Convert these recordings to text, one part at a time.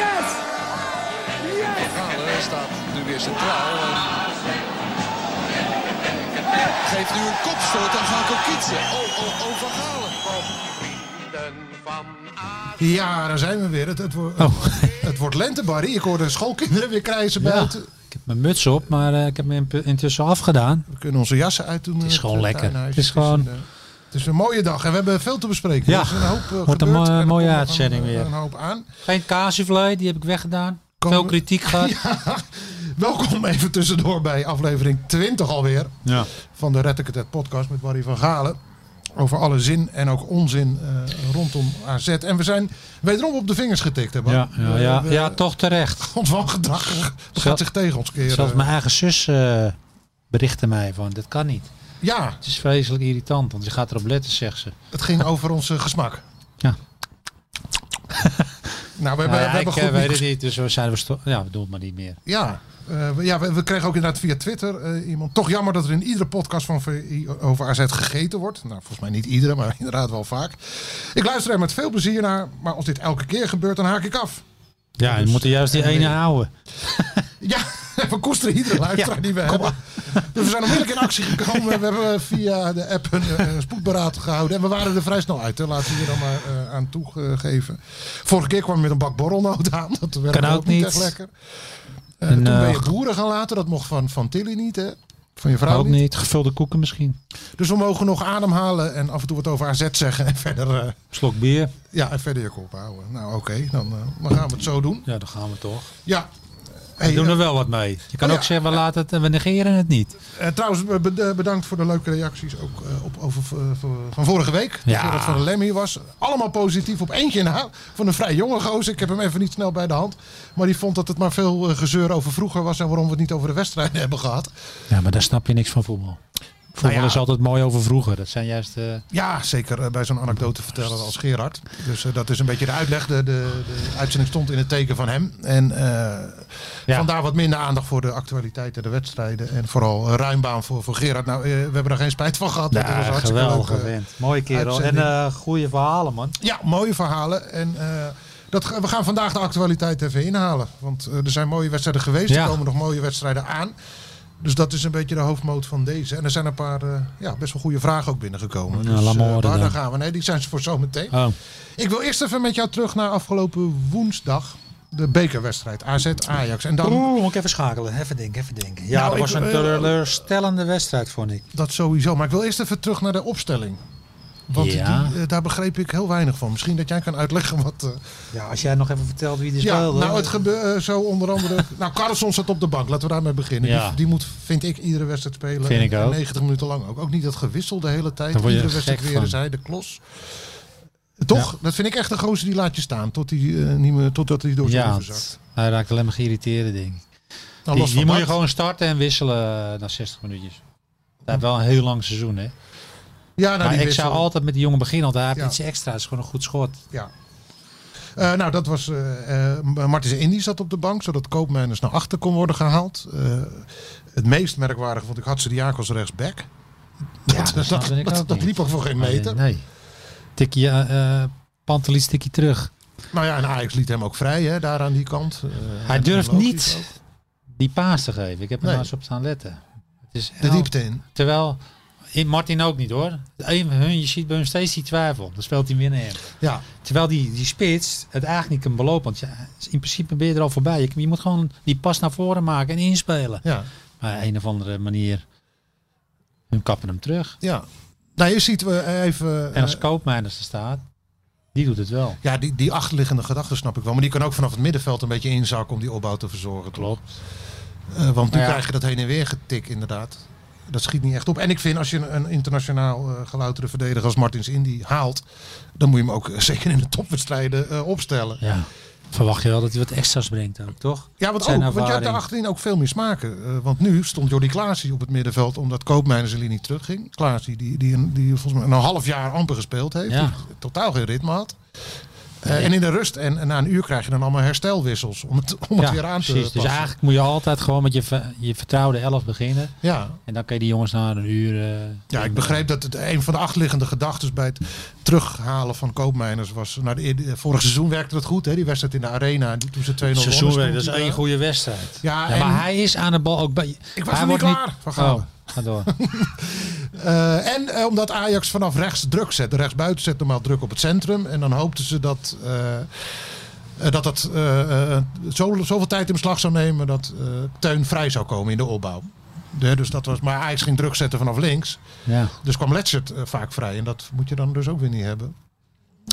Yes! Yes! Galen staat nu weer centraal. En... Geeft nu een kopstoot aan Gaco Kietsen. Oh, oh, oh, Van Galen. Ja, daar zijn we weer. Het, het, wordt- Oh. het wordt lente, Barry. Ik hoorde schoolkinderen weer krijzen buiten. ik heb mijn muts op, maar eh, ik heb me in- intussen afgedaan. We kunnen onze jassen uitdoen. eh, Het is gewoon lekker. tuinhuis. Het is gewoon- een, eh, het is een mooie dag en we hebben veel te bespreken. Ja, Er is een hoop, eh, wordt een gebeurd mooie- en er mooie komt nog uitzending een, weer. Een hoop aan. Geen kaassoufflé, die heb ik weggedaan. Komen Veel we- kritiek gehad. Ja, welkom even tussendoor bij aflevering 20 alweer Ja. van de Red Ik Het Het podcast met Barry van Galen. Over alle zin en ook onzin eh, rondom AZ. En we zijn wederom op de vingers getikt. Hè, Bar? Ja, ja, ja, We- ja, toch terecht. Ons van gedrag dat gaat zich tegen ons keren. Zelfs mijn eigen zus eh, berichtte mij van, dat kan niet. Ja, Het is vreselijk irritant, want je gaat erop letten, zegt ze. het ging over ons eh, gesmak. Ja. Nou, we hebben, Nou we ja, hebben ik goed eh, weet nieuws. het niet, dus we zijn we sto- Ja, we doen het maar niet meer. Ja, eh, we- ja we, we kregen ook inderdaad via Twitter eh, iemand. Toch jammer dat er in iedere podcast van VI over AZ gegeten wordt. Nou, volgens mij niet iedere, maar inderdaad wel vaak. Ik luister er met veel plezier naar, maar als dit elke keer gebeurt, dan haak ik af. Ja, we moeten juist die ene houden. Ja, we koesteren iedere luisteraar Ja, die we hebben. Dus we zijn onmiddellijk in actie gekomen. We hebben eh, via de app een eh, spoedberaad gehouden. En we waren er vrij snel uit. Hè. Laten we hier dan maar eh, aan toegeven. Vorige keer kwam we met een bak borrelnoot aan. Dat werd Kan ook niet. echt lekker. Eh, En, toen ben je eh, boeren gaan laten. Dat mocht van, van Tilly niet, hè? Van je vrouw Ook niet. niet, gevulde koeken misschien. Dus we mogen nog ademhalen en af en toe wat over AZ zeggen. En verder, eh, Slok bier. ja, en verder je kop houden. Nou, oké. dan, eh, dan gaan we het zo doen. Ja, dan gaan we toch. Ja. We Hey, eh, doen er wel wat mee. Je kan oh ook ja. zeggen, we, laten het, en we negeren het niet. Eh, trouwens, be- be- eh, bedankt voor de leuke reacties ook eh, op, over, v- v- van vorige week. Ja. Dat van de Lem hier was. Allemaal positief op eentje na. Van een vrij jonge gozer. Ik heb hem even niet snel bij de hand. Maar die vond dat het maar veel eh, gezeur over vroeger was. En waarom we het niet over de wedstrijden hebben gehad. Ja, maar daar snap je niks van voetbal. Voetbal Nou ja. is altijd mooi over vroeger. Dat zijn juist... eh, Ja, zeker eh, bij zo'n anekdote vertellen als Gerard. Dus eh, dat is een beetje de uitleg. De, de, de uitzending stond in het teken van hem. En eh, Ja. vandaar wat minder aandacht voor de actualiteit en de wedstrijden. En vooral eh, ruimbaan voor, voor Gerard. Nou, eh, we hebben er geen spijt van gehad. want het was ja, hartstikke geweldige leuk, eh, vent. Mooie kerel. uitzending. En eh goede verhalen, man. Ja, mooie verhalen. En eh, dat, ga- we gaan vandaag de actualiteit even inhalen. Want eh, er zijn mooie wedstrijden geweest. Ja. Er komen nog mooie wedstrijden aan. Dus dat is een beetje de hoofdmoot van deze. En er zijn een paar eh, ja, best wel goede vragen ook binnengekomen. Nou, dus, laat maar eh, horen daar, daar dan. gaan we. Nee, die zijn ze voor zometeen. Oh, Ik wil eerst even met jou terug naar afgelopen woensdag. De bekerwedstrijd AZ-Ajax. En dan Oeh, moet ik even schakelen. Even denken, even denken. Ja, Nou, dat ik- was een eh, teleurstellende wedstrijd, vond ik. dat sowieso. Maar ik wil eerst even terug naar de opstelling. Want Ja. die, eh, daar begreep ik heel weinig van. Misschien dat jij kan uitleggen wat... eh, Ja, als jij nog even vertelt wie er Ja, speelde. nou het gebeurt zo onder andere. nou, Carlson zat op de bank, laten we daarmee beginnen. Ja. Die, die moet, vind ik, iedere wedstrijd spelen. Vind ik En ook. 90 minuten lang ook. Ook niet dat gewissel de hele tijd. Daar word je Iedere wedstrijd gek weer van. zij de klos. Toch? Dat vind ik echt een gozer die laat je staan. Tot die, eh, niet meer, totdat hij door zijn ja, ja, het- hij raakt alleen maar geïrriteerd, denk ik. Nou, die los die van moet je dat- gewoon starten en wisselen eh, na 60 minuutjes. Hij heeft wel een heel lang seizoen, hè. Ja, nou, maar die ik wissel. zou altijd met die jongen beginnen, want hij heeft Ja. iets extra's. Gewoon een goed schot. Ja. Eh, nou, dat was. eh eh Martens Indy zat op de bank, zodat Koopmeiners naar achter kon worden gehaald. Eh, het meest merkwaardige vond ik Hatze Diakos rechtsback. Ja, dat, dat, dat snapte ik dat- ook dat niet. liep ook voor geen meter. Nee. Tikkie, eh eh, Pantelis tikkie terug. Nou ja, en Ajax liet hem ook vrij, hè, daar aan die kant. Eh, Hij durft logisch niet ook. die paas te geven. Ik heb er Nee. nou eens op staan letten. Het is De elf- diepte in. Terwijl in Martin ook niet hoor. Een van hun, je ziet bij hun steeds die twijfel. Dan speelt hij weer naar hem. Ja, Terwijl die, die spits het eigenlijk niet kan belopen. Want ja, in principe ben je er al voorbij. Je, je moet gewoon die pas naar voren maken en inspelen. ja, Maar een of andere manier. Hun kappen hem terug. ja. Nou, je ziet we even. En als eh, koopmijners er staat, die doet het wel. ja, die, die achterliggende gedachten snap ik wel. Maar die kan ook vanaf het middenveld een beetje inzakken om die opbouw te verzorgen. toch? Klopt. Nou Eh, want nu Ja. krijg je dat heen en weer getik, inderdaad. Dat schiet niet echt op. En ik vind als je een, een internationaal eh, gelouterde verdediger als Martins Indy haalt, dan moet je hem ook eh, zeker in de topwedstrijden eh, opstellen. Ja. verwacht je wel dat hij wat extra's brengt ook, toch? Ja, want, Zijn ook, want je had ervaring. daar achterin ook veel meer smaken. Eh, want nu stond Jordi Klaasie op het middenveld omdat Koopmeiners er niet terugging. Klaasie die, die, een- die volgens mij een half jaar amper gespeeld heeft. Ja. die totaal geen ritme had. Eh, En in de rust en, en na een uur krijg je dan allemaal herstelwissels om het, om het Ja, weer aan te precies. passen. Dus eigenlijk moet je altijd gewoon met je, ver- je vertrouwde elf beginnen. ja. En dan kan je die jongens na een uur... eh, ja, ik begreep dat het, een van de achterliggende gedachten bij het terughalen van Koopmeiners was... Nou, de, de- vorig seizoen werkte het goed, hè? die wedstrijd in de arena. die- Toen ze 2-0 Seizoen wonnen, weer, dat is stond hij één daar. goede wedstrijd. Ja, Ja, en- maar hij is aan de bal ook bij. Ik was hij nog niet wordt klaar. Van Gaal. Oh, ga door. Eh, en eh, omdat Ajax vanaf rechts druk zet. Rechtsbuiten zet normaal druk op het centrum. En dan hoopten ze dat eh, eh, dat, dat eh, eh, zo, zoveel tijd in beslag zou nemen dat eh, Teun vrij zou komen in de opbouw. De- dus dat was, maar Ajax ging druk zetten vanaf links. ja. Dus kwam Letchert eh, vaak vrij. En dat moet je dan dus ook weer niet hebben.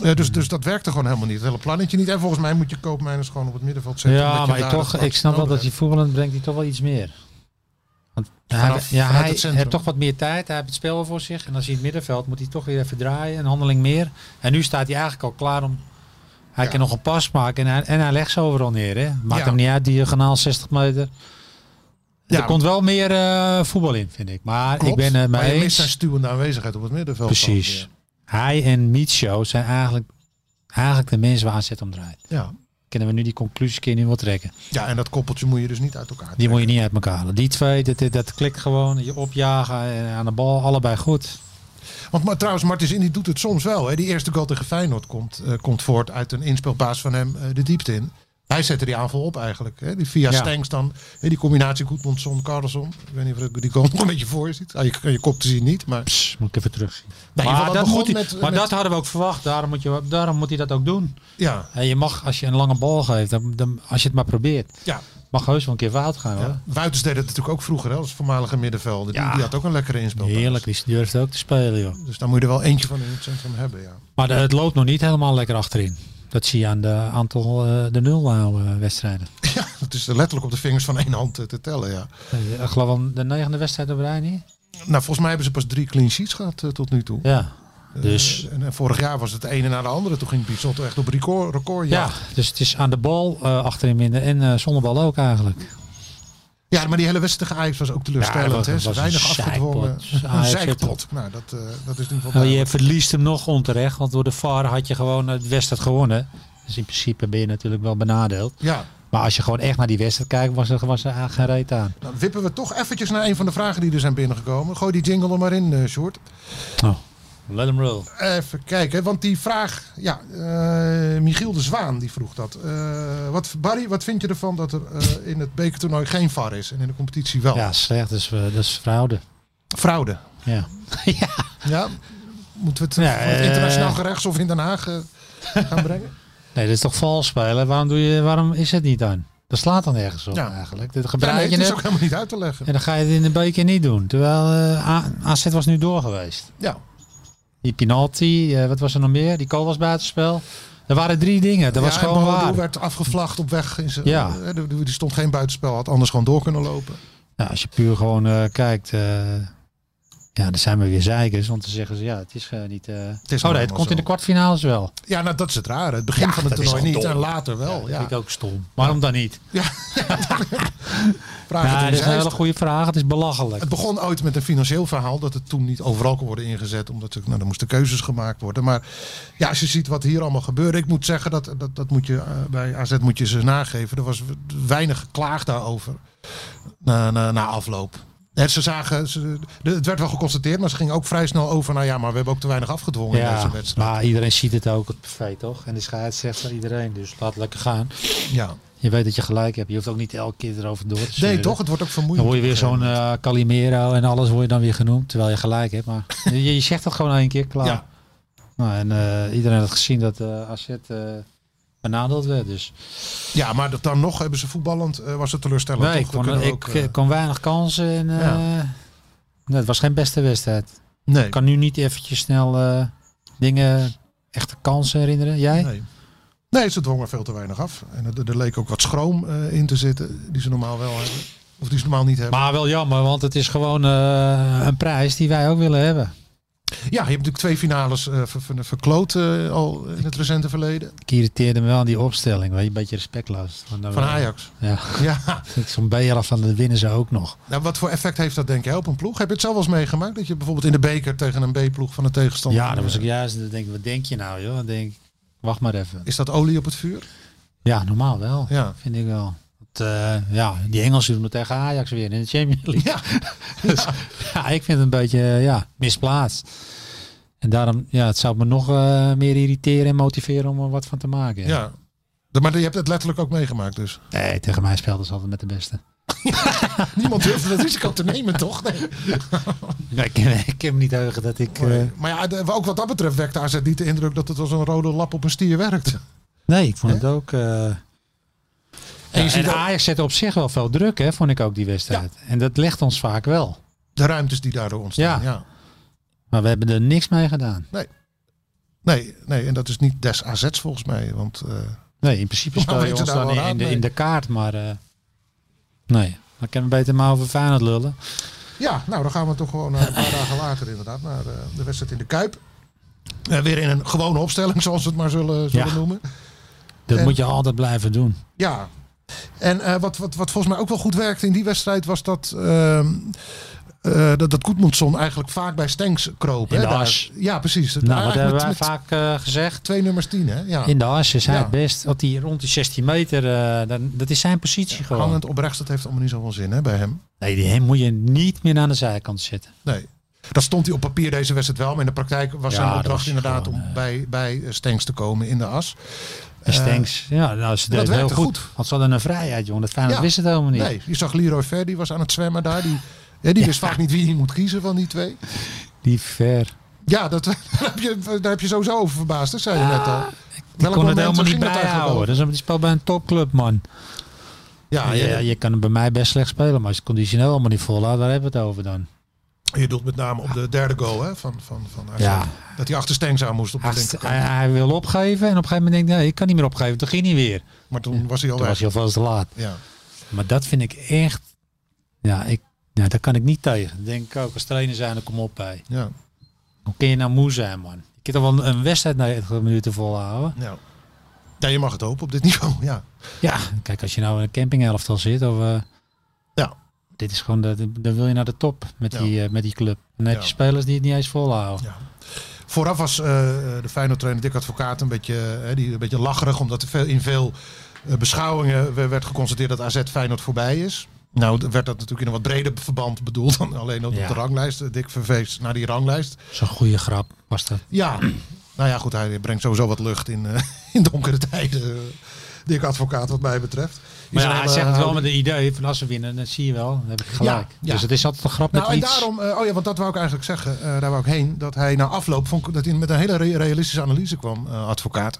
Eh, dus, dus dat werkte gewoon helemaal niet. Het hele plannetje niet. En volgens mij moet je Koopmeiners gewoon op het middenveld zetten. omdat ja, je maar daar toch, dat ik snap wel nodig dat hij hebt. voetballend brengt hij toch wel iets meer. Want Vanaf- hij, ja, vanuit hij het centrum. heeft toch wat meer tijd. Hij heeft het spel wel voor zich. En als hij in het middenveld moet hij toch weer even draaien. Een handeling meer. En nu staat hij eigenlijk al klaar om. Hij Ja. kan nog een pas maken. En hij, en hij legt ze overal neer. Hè. Maakt Ja. hem niet uit, diagonaal 60 meter. Ja, er komt wel meer eh, voetbal in, vind ik. Maar klopt. ik ben het maar mee je mist eens. zijn stuwende aanwezigheid op het middenveld. dan Precies. weer. Hij en Micho zijn eigenlijk, eigenlijk de mensen waar AZ om draait. Ja. Kunnen we nu die conclusies kun je nu wel trekken. ja, en dat koppeltje moet je dus niet uit elkaar Die moet je niet uit elkaar halen. Die twee, dat, dat, dat klikt gewoon. Je opjagen en aan de bal, allebei goed. Want maar, trouwens, Martens Indy doet het soms wel. Hè. Die eerste goal tegen Feyenoord komt, eh, komt voort uit een inspelpaas van hem eh, de diepte in. Hij zette die aanval op eigenlijk. Hè. Die via Ja. Stengs dan. hè, die combinatie Goedmondson, Carlson. Ik weet niet of die goal nog een beetje voor je ziet. Ah, je, je kop te zien niet, maar... Pss, Dus moet ik even terugzien. Nou, in ieder geval, maar dat dat, begon moet hij, met- maar met- dat hadden we ook verwacht. Daarom moet, je, daarom moet hij dat ook doen. Ja, En je mag, als je een lange bal geeft, dan, dan- als je het maar probeert, ja. mag heus wel een keer fout gaan. Hoor. ja. Wuitens deed het natuurlijk ook vroeger hè, als voormalige middenvelder. Die, Ja. die had ook een lekkere inspelpaas. Heerlijk, die durft ook te spelen. Joh. Dus daar moet je er wel eentje van in het centrum hebben, ja. Maar de- het loopt nog niet helemaal lekker achterin. Dat zie je aan de aantal eh, de nul houden wedstrijden. ja het is letterlijk op de vingers van één hand eh, te tellen, ja. Eh, Ik geloof al de negende wedstrijd op rij niet. Nou, volgens mij hebben ze pas drie clean sheets gehad eh, tot nu toe. Ja. Dus En, en vorig jaar was het de ene na de andere. Toen ging Bizotto echt op record. record ja, ja. dus het is aan de bal eh, achterin minder en eh, zonder bal ook eigenlijk. ja, maar die hele wedstrijd tegen Ajax was ook teleurstellend. dat hè. was Ze een weinig zeikpot. afgedwongen. Een Ajax zeikpot. Nou, dat, eh, dat is nu van Nou, je verliest hem nog onterecht, want door de VAR had je gewoon het wedstrijd gewonnen. Dus in principe ben je natuurlijk wel benadeeld. Ja, Maar als je gewoon echt naar die wedstrijd kijkt, was er, was er eigenlijk geen reet aan. dan wippen we toch eventjes naar een van de vragen die er zijn binnengekomen. Gooi die jingle er maar in, eh Sjoerd. Oh. Let hem roll. Even kijken, want die vraag... Ja, eh, Michiel de Zwaan die vroeg dat. Eh, wat, Barry, wat vind je ervan dat er eh, in het bekertoernooi geen VAR is en in de competitie wel? Ja, slecht. Dus, eh, dat is fraude. Fraude. Ja. ja. Ja, moeten we het Ja, voor het internationaal eh, gerechtshof in Den Haag eh, gaan brengen? Nee, dat is toch vals spelen? Waarom, doe je, waarom is het niet dan? Dat slaat dan nergens op Ja. eigenlijk. Dat Ja, gebruik nee, je het is net ook helemaal niet uit te leggen. en dan ga je het in de beker niet doen. Terwijl eh, A- AZ was nu door geweest. Ja, Die penalty, eh, wat was er nog meer? Die kool was buitenspel. Er waren drie dingen. Dat was Ja, en gewoon Boadu waar. werd afgevlacht op weg. In zijn, Ja. eh, die- die stond geen buitenspel, had anders gewoon door kunnen lopen. Nou, als je puur gewoon eh, kijkt, eh, ja, dan zijn we weer zeikers. Want dan zeggen ze, ja, het is eh, niet... eh, is oh nee, allemaal het komt zo. in de kwartfinales wel. Ja, nou, dat is het rare. Het begin Ja, van het dat is toernooi al niet dom. en later wel. Ja, vind ik ook stom. Waarom dan niet? Vraag Nou, het Ja, in dat is een Zeist. hele goede vraag. Het is belachelijk. Het begon ooit met een financieel verhaal dat het toen niet overal kon worden ingezet. Omdat er, nou, er moesten keuzes gemaakt worden. Maar ja, als je ziet wat hier allemaal gebeurde. Ik moet zeggen, dat, dat, dat moet je, eh, bij AZ moet je ze nageven. Er was weinig geklaagd daarover na, na, na afloop. Hè, ze zagen, ze, de- het werd wel geconstateerd, maar ze gingen ook vrij snel over. Nou ja, maar we hebben ook te weinig afgedwongen in deze Ja, wedstrijd. maar iedereen ziet het ook, het privé toch? En de scheidsrechter, iedereen. Dus laat lekker gaan. Ja. Je weet dat je gelijk hebt. Je hoeft ook niet elke keer erover door te Nee, zeuren. toch? Het wordt ook Dan vermoeiend. word je weer zo'n eh, Calimero en alles word je dan weer genoemd. Terwijl je gelijk hebt. Maar je, je zegt dat gewoon één keer, klaar. Ja. Nou, en eh, iedereen had gezien dat eh AZ eh, benadeeld werd. Dus Ja, maar dat dan nog hebben ze voetballend, eh, was het teleurstellend. nee, ik, toch? We kon, kunnen ik ook, eh, eh, kon weinig kansen. En, eh, nee, het was geen beste wedstrijd. nee. Ik kan nu niet eventjes snel eh, dingen, echte kansen herinneren. Jij? Nee. Nee, ze dwongen veel te weinig af. En er, er leek ook wat schroom eh, in te zitten, die ze normaal wel hebben. Of die ze normaal niet hebben. Maar wel jammer, want het is gewoon eh, een prijs die wij ook willen hebben. Ja, je hebt natuurlijk twee finales eh, ver- ver- verkloot eh, al in het recente verleden. Ik irriteerde me wel aan die opstelling. Weet je, een beetje respectloos. Want dan- Van Ajax. Ja. Ja, Zo'n BR van dat winnen ze ook nog. nou, wat voor effect heeft dat denk je op een ploeg? Heb je het zelf wel eens meegemaakt? Dat je bijvoorbeeld in de beker tegen een B-ploeg van de tegenstander... Ja, dat was eh, ik juist. Dan denk ik, wat denk je nou, joh? Dan denk ik, wacht maar even. Is dat olie op het vuur? Ja, normaal wel. Ja. Vind ik wel. Want, eh, ja, die Engelsen doen het tegen Ajax weer in de Champions League. Ja. Dus, ja, ik vind het een beetje eh, ja, misplaatst. En daarom, ja, het zou me nog eh, meer irriteren en motiveren om er wat van te maken. Ja. De- Maar je hebt het letterlijk ook meegemaakt dus. Nee, tegen mij speelden ze altijd met de beste. Niemand durfde dat risico te nemen, toch? Nee. Nee, ik, ik kan me niet heugen dat ik... eh, Maar ja, de- ook wat dat betreft wekt AZ niet de indruk dat het als een rode lap op een stier werkt. nee, ik vond het ook... eh, En je en ziet ook Ajax zette op zich wel veel druk, hè, vond ik ook die wedstrijd. En dat legt ons vaak wel. de ruimtes die daardoor ontstaan. Ja. Ja. Maar we hebben er niks mee gedaan. Nee, nee, en dat is niet des AZ's volgens mij. Want eh, Nee, in principe Maar speel je weet je ons daar dan wel in, raad in de, mee? in de kaart, maar... eh, nee, dan kan we beter maar over Feyenoord lullen. ja, nou dan gaan we toch gewoon eh, een paar dagen later inderdaad naar eh, de wedstrijd in de Kuip. Eh, weer in een gewone opstelling, zoals we het maar zullen, zullen Ja. noemen. Dat En- moet je altijd blijven doen. Ja. En eh, wat, wat, wat volgens mij ook wel goed werkte in die wedstrijd was dat. ehm, eh, dat, dat Goedmundsson eigenlijk vaak bij Stenks kroop. In hè, de daar. as. Ja, precies. Dat Nou, dat eigenlijk hebben met- wij met vaak eh, gezegd. Twee nummers tien, hè? Ja. In de as is hij Ja. het best. Dat hij rond de 16 meter, eh, dan, dat is zijn positie gewoon. Hangend op rechts, dat heeft allemaal niet zoveel zin hè, bij hem. Nee, die hem moet je niet meer aan de zijkant zetten. Nee. Dat stond hij op papier deze wedstrijd wel, maar in de praktijk was Ja, zijn dat opdracht was inderdaad gewoon, eh, om bij, bij Stenks te komen in de as. En Stenks, ja, nou, ze deed het heel werkte goed. goed. Want ze hadden een vrijheid, jongen. Dat Feyenoord Ja. wist het helemaal niet. Nee, je zag Leroy Ver, die was aan het zwemmen daar. Die, ja, die wist vaak niet wie hij moet kiezen van die twee. Die ver. Ja, dat, daar, heb je, daar heb je sowieso over verbaasd, dat zei je net al. Die kon het helemaal niet bijhouden. bijhouden. Dat is een- die speelt bij een topclub, man. Ja, Ja, je, je, je kan hem bij mij best slecht spelen, maar als je het conditioneel allemaal niet volhoudt, waar hebben we het over dan? je doelt met name op de derde goal hè, van, van, van AZ. Ja. Dat hij achter Stenks aan moest op de Hij, hij, linkerkant. hij wil opgeven en op een gegeven moment denkt hij, nee, ik kan niet meer opgeven, toen ging hij weer. Maar toen was hij al Toen was weg. hij alvast te laat. Oh, Ja. Maar dat vind ik echt. Ja, ik, ja, daar kan ik niet tegen. Dat denk ik ook. Als trainer zijn, dan kom op bij. Ja, Hoe kun je nou moe zijn, man? Je kunt toch wel een, een wedstrijd 90 minuten volhouden? nou. Ja, je mag het hopen op dit niveau, ja. Ja, kijk, als je nou in een campinghelftal zit. Of, eh, Ja. Dit is gewoon, de, dan wil je naar de top met, Ja. die, eh, met die club. Dan heb je Ja. spelers die het niet eens volhouden. Vooraf was eh, de Feyenoord trainer Dick Advocaat een beetje, hè, die, een beetje lacherig. Omdat er veel, in veel eh, beschouwingen we- werd geconstateerd dat AZ Feyenoord voorbij is. Nou d- werd dat natuurlijk in een wat breder verband bedoeld dan alleen op Ja. de ranglijst. Dick verwees naar die ranglijst. Zo'n goede grap was dat. Ja, nou ja goed, hij brengt sowieso wat lucht in, eh, in donkere tijden. eh, Dick Advocaat wat mij betreft. Maar Is ja, een hij hele zegt het wel houding. met het idee van als ze winnen, dan zie je wel. Dan heb ik gelijk. ja. Dus het is altijd een grap Nou, met en iets. daarom, eh, oh ja, want dat wou ik eigenlijk zeggen, eh, daar wou ik heen, dat hij na afloop vond ik dat hij met een hele re- realistische analyse kwam, eh, advocaat.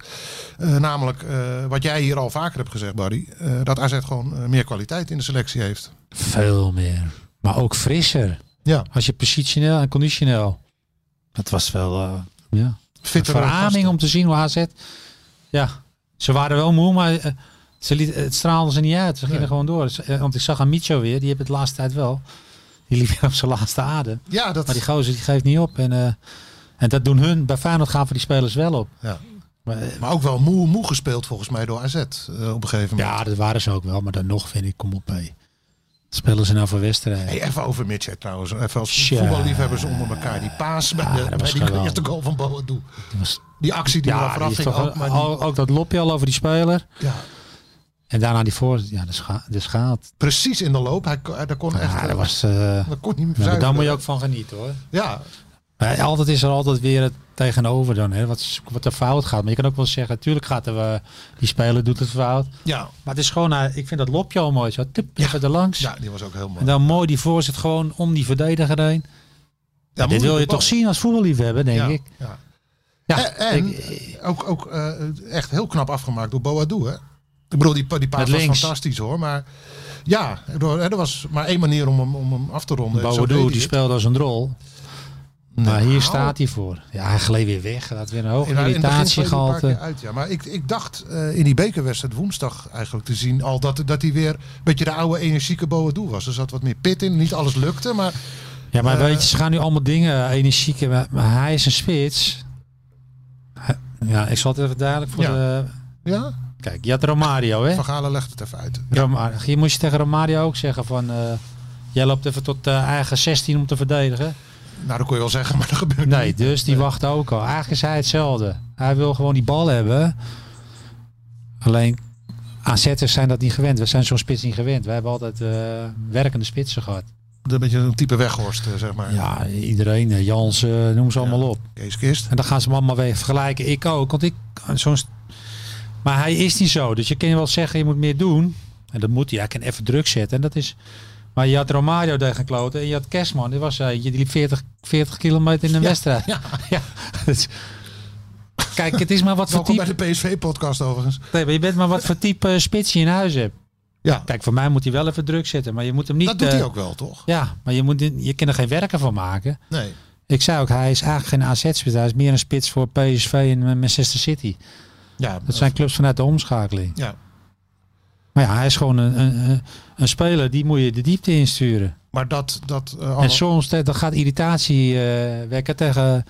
Eh, namelijk, eh, wat jij hier al vaker hebt gezegd, Barry, eh, dat AZ gewoon eh, meer kwaliteit in de selectie heeft. Veel meer. Maar ook frisser. Ja, Als je positioneel en conditioneel. Dat was wel eh ja. een fitter. veraming om te zien hoe AZ. Ja, ze waren wel moe, maar eh, ze liet, het straalde ze niet uit. Ze gingen Nee. gewoon door. Dus, eh, Want ik zag Amicho weer, die heb het de laatste tijd wel. Die liep weer op zijn laatste adem. Ja, dat, Maar die gozer die geeft niet op. En, eh, en dat doen hun. Bij Feyenoord gaven die spelers wel op. ja. Maar, eh, maar ook wel moe, moe gespeeld volgens mij door AZ eh, op een gegeven moment. ja, dat waren ze ook wel. Maar dan nog vind ik, kom op hé. Wat Spelen ze nou voor wedstrijden? Hey, even over Mitchell trouwens, even als Tja. voetballiefhebbers onder elkaar. Die paas bij, de, dat bij was die geweldig. eerste goal van Boadu. Die was- Die actie die ja, eraf die is afging toch ook, maar die- ook, ook dat lopje al over die speler. ja, En daarna die voor, ja, de, scha de schaat. precies in de loop. Hij, kon- hij, daar kon echt... Ja, eh, dat was, eh Dat kon niet meer nou, zuiveren. daar moet je ook van genieten hoor. Ja, Maar altijd is er altijd weer het tegenover dan, hè, wat, wat er fout gaat. Maar je kan ook wel zeggen, natuurlijk gaat er, eh, die speler doet het fout. ja, Maar het is gewoon, eh, ik vind dat lopje al mooi. Zo, tup, even erlangs. ja, die was ook heel mooi. En dan mooi die voorzet gewoon om die verdediger heen. Ja, Dit wil je toch zien als voetballiefhebber, denk ja, ik. Ja. Ja, En, en ik- ook, ook eh, echt heel knap afgemaakt door Boadu, hè? Ik bedoel, die, pa- die paas Met was links. fantastisch hoor, maar ja, ik bedoel, hè, er was maar één manier om hem, om hem af te ronden. Zo deed Boadu, hij die het. speelde als een drol. Maar Nou, hier staat hij voor. Ja, hij gleed weer weg. Dat weer een hoog in- in het begin vloog hij een paar irritatiegehalte. keer uit, ja. Maar ik, ik dacht eh, in die bekerwedstrijd woensdag eigenlijk te zien al dat, dat hij weer een beetje de oude energieke Boadu was. Er zat wat meer pit in, niet alles lukte, maar Ja, maar weet je, ze gaan nu allemaal dingen energiek. Maar, maar hij is een spits. Hij- Ja, ik zal het even duidelijk voor Ja. de... Ja? Kijk, je had Romario, hè? Van Galen legt het even uit. Roma- Hier moest je tegen Romario ook zeggen van... eh, jij loopt even tot eh, eigen 16 om te verdedigen. Nou, dat kon je wel zeggen, maar dat gebeurt Nee, niet. dus die wacht ook al. Eigenlijk is hij hetzelfde. Hij wil gewoon die bal hebben. Alleen AZ'ers zijn dat niet gewend. We zijn zo'n spits niet gewend. We hebben altijd eh, werkende spitsen gehad. Een beetje een type weghorst, eh, zeg maar. Ja, iedereen. eh, Jans, eh, noem ze allemaal op. Kees Kist. En dan gaan ze hem allemaal weer vergelijken. Ik ook, want ik zo'n. st- Maar hij is niet zo. Dus je kan wel zeggen, je moet meer doen. En dat moet hij. Hij kan even druk zetten. En dat is. Maar je had Romario tegen kloten en je had Kerstman. Die was eh, je die liep 40, 40 kilometer in een wedstrijd. Ja. Dus- Kijk, het is maar wat voor Welkom type. bij de PSV-podcast overigens. Nee, maar je bent maar wat voor type eh, spits je in huis hebt. Ja, Kijk, voor mij moet hij wel even druk zetten, maar je moet hem niet. dat doet hij eh, ook wel, toch? Ja, maar je, moet, je kan er geen werken van maken. Nee. Ik zei ook, hij is eigenlijk geen AZ-spits. Hij is meer een spits voor PSV en eh, Manchester City. Ja, Dat zijn clubs vanuit de omschakeling. Ja. Maar ja, hij is gewoon een, een, een- een speler die moet je de diepte insturen. Maar dat... dat eh, En allemaal- soms eh, dat gaat irritatie eh, wekken tegen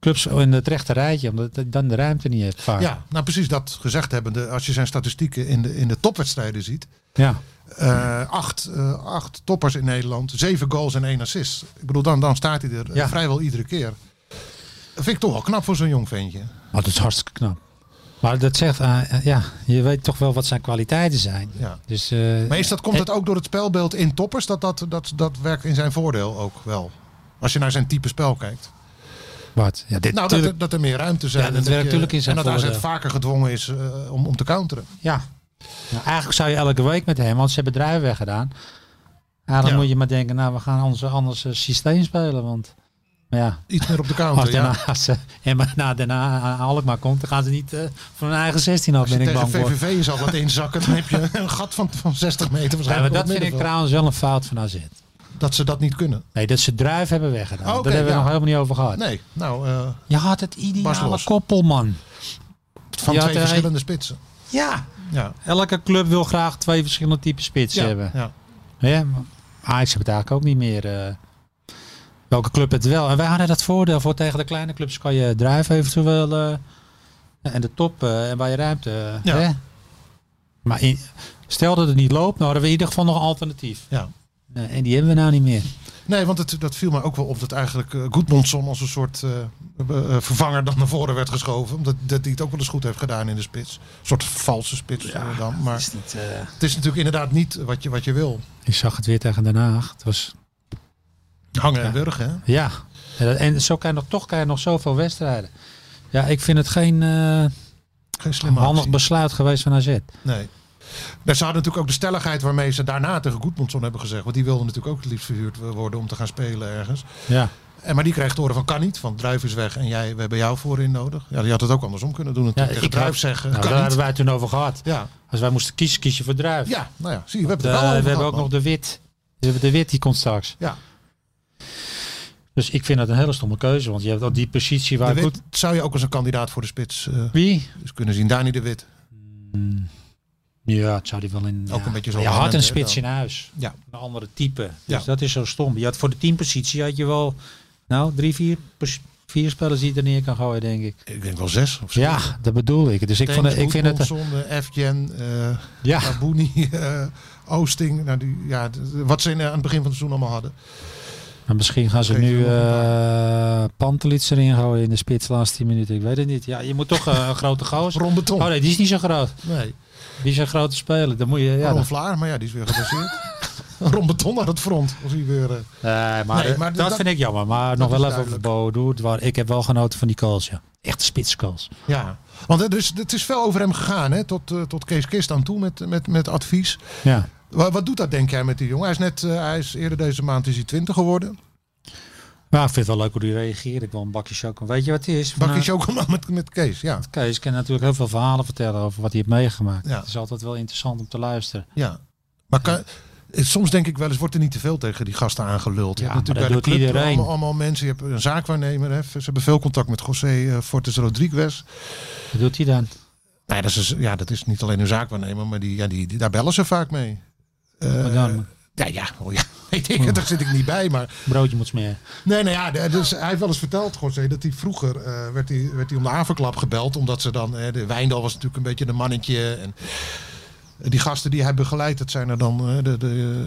clubs in het rechte rijtje, omdat je dan de ruimte niet hebt vaak. ja, nou precies dat gezegd hebbende, als je zijn statistieken in de, in de topwedstrijden ziet. ja. eh, acht, eh, acht toppers in Nederland, zeven goals en één assist. Ik bedoel, dan, dan staat hij er eh, Ja. vrijwel iedere keer. Vind ik toch wel knap voor zo'n jong ventje. Maar dat is hartstikke knap. Maar dat zegt, eh, eh, ja, je weet toch wel wat zijn kwaliteiten zijn. Ja. Dus, eh, Maar is dat, komt eh, dat ook door het spelbeeld in toppers? Dat, dat, dat, dat werkt in zijn voordeel ook wel. Als je naar zijn type spel kijkt. Wat? Ja, dit, Nou, dat tuurlijk- er, dat er meer ruimte zijn. Ja, dat en werkt je- natuurlijk in zijn En dat AZ voordeel. vaker gedwongen is eh, om, om te counteren. Ja. Nou, eigenlijk zou je elke week met hem, want ze hebben druiven weggedaan. Ja, dan Ja. moet je maar denken, nou, we gaan ons anders eh, systeem spelen. Want maar ja, Iets meer op de als counter. eh, Ja. daarna, als ze- en maar, na daarna aan Alkmaar komt, dan gaan ze niet eh, van hun eigen 16 af, Als je ben ik tegen bang voor. VVV je zal wat inzakken, dan heb je een gat van, van 60 meter Ja, maar waarschijnlijk. dat op het vind ik middenveld. trouwens wel een fout van AZ. Dat ze dat niet kunnen. Nee, dat ze druif hebben weggedaan. Oh, oké, dat hebben we ja. nog helemaal niet over gehad. Nee, nou, eh, Je had het Bas ideale Los. koppel, man. van twee Ja, het, eh, verschillende spitsen. Ja. Ja, Elke club wil graag twee verschillende typen spits ja, hebben. ja. Ja, maar Ajax heeft het eigenlijk ook niet meer. eh, welke club het wel. En wij hadden dat voordeel voor tegen de kleine clubs kan je drijven eventueel. eh, en de top eh, en bij je ruimte. eh, Ja. Hè? Maar in- stel dat het niet loopt, nou hadden we in ieder geval nog een alternatief. ja. Eh, en die hebben we nou niet meer. Nee, want het, dat viel mij ook wel op dat eigenlijk eh Goedmondson als een soort eh, eh, vervanger dan naar voren werd geschoven. Omdat dat hij het ook wel eens goed heeft gedaan in de spits. Een soort valse spits eh, dan. Maar het is eh, natuurlijk inderdaad niet wat je, wat je wil. Ik zag het weer tegen Den Haag. Het was, Hangen en wurgen, hè? ja. En dat- En zo kan je nog, toch kan je nog zoveel wedstrijden. Ja, ik vind het geen eh, Geen slimme handig actie. besluit geweest van AZ. Nee. Nou, ze hadden natuurlijk ook de stelligheid waarmee ze daarna tegen Goedmondson hebben gezegd. Want die wilde natuurlijk ook het liefst verhuurd worden om te gaan spelen ergens. Ja. En, maar die kreeg te horen van kan niet, want Druif is weg en jij, we hebben jou voorin nodig. Ja, die had het ook andersom kunnen doen. ja Natuurlijk. tegen Druif had- zeggen, nou, daar kan hebben niet. wij het toen over gehad. Ja, Als wij moesten kiezen, kies je voor druif. ja, nou ja, zie je, we De- hebben het wel over we gehad, hebben ook man. nog de wit. We hebben de wit, die komt straks. Ja. Dus ik vind dat een hele stomme keuze. Want je hebt al die positie waar de goed... Wit zou je ook als een kandidaat voor de spits eh, Wie? dus kunnen zien. Dani de Wit. Ja, het zou die wel in... Ook ja. een beetje zo'n Je had een moment, hè, spits dan. in huis. Ja. Een andere type. Dus Ja. dat is zo stom. Je had voor de teampositie had je wel... Nou, drie, vier, pos- vier spelers die je er neer kan gooien, denk ik. Ik denk wel zes of zo. Ja, dat bedoel ik. Dus ik, vond, het- ik vind het... Efjen, eh Ja, Tabouni, eh, Oosting. Nou die, ja, d- wat ze in, eh, aan het begin van het seizoen allemaal hadden. maar Nou, misschien gaan ze Geen nu genoeg. eh Pantelits erin gooien in de spits laatste 10 minuten. Ik weet het niet. Ja, je moet toch eh, een grote gozer... Ron Beton. Oh nee, die is niet zo groot. Nee, Die is een grote speler. Dan moet je. Ja, Ron dan- Vlaar, maar ja, die is weer geblesseerd. Ron Beton aan het front. Als hij weer, eh, Nee, maar, Nee, eh, maar dat, dat- vind ik jammer. Maar nog is wel even duidelijk. over Bodo. Het wa- Ik heb wel genoten van die calls. Ja. Echte spitskals. ja. Want er is, het is veel over hem gegaan, hè? Tot, eh, tot Kees Kist aan toe met, met, met advies. Ja. Wat, wat doet dat, denk jij, met die jongen? Hij is, net, eh, hij is eerder deze maand is hij 20 geworden. Maar ik vind het wel leuk hoe die reageert. Ik wil een bakje chocola. Weet je wat het is? Bakkie Nou, chocola met, met Kees, ja. Kees kan natuurlijk heel veel verhalen vertellen over wat hij heeft meegemaakt. Ja. Het is altijd wel interessant om te luisteren. Ja. Maar kan, eh, soms denk ik wel eens, wordt er niet te veel tegen die gasten aangeluld. Je Ja, hebt maar dat doet club iedereen. Allemaal, allemaal mensen, je hebt een zaakwaarnemer. Hè. Ze hebben veel contact met José eh, Fortes Rodriguez. Wat doet hij dan? Nee, dat is, dus- ja, dat is niet alleen een zaakwaarnemer, maar die, ja, die, die- daar bellen ze vaak mee. Eh, Wat dan? ja, ja, oh ja. weet Hm. ik, daar zit ik niet bij. Maar Broodje moet smeren. Nee, nee, ja, de- dus hij heeft wel eens verteld, José, dat hij vroeger eh, werd, hij, werd hij om de haverklap gebeld. Omdat ze dan, eh, de Wijndal was natuurlijk een beetje een mannetje. En die gasten die hij begeleidt, dat zijn er dan eh, de, de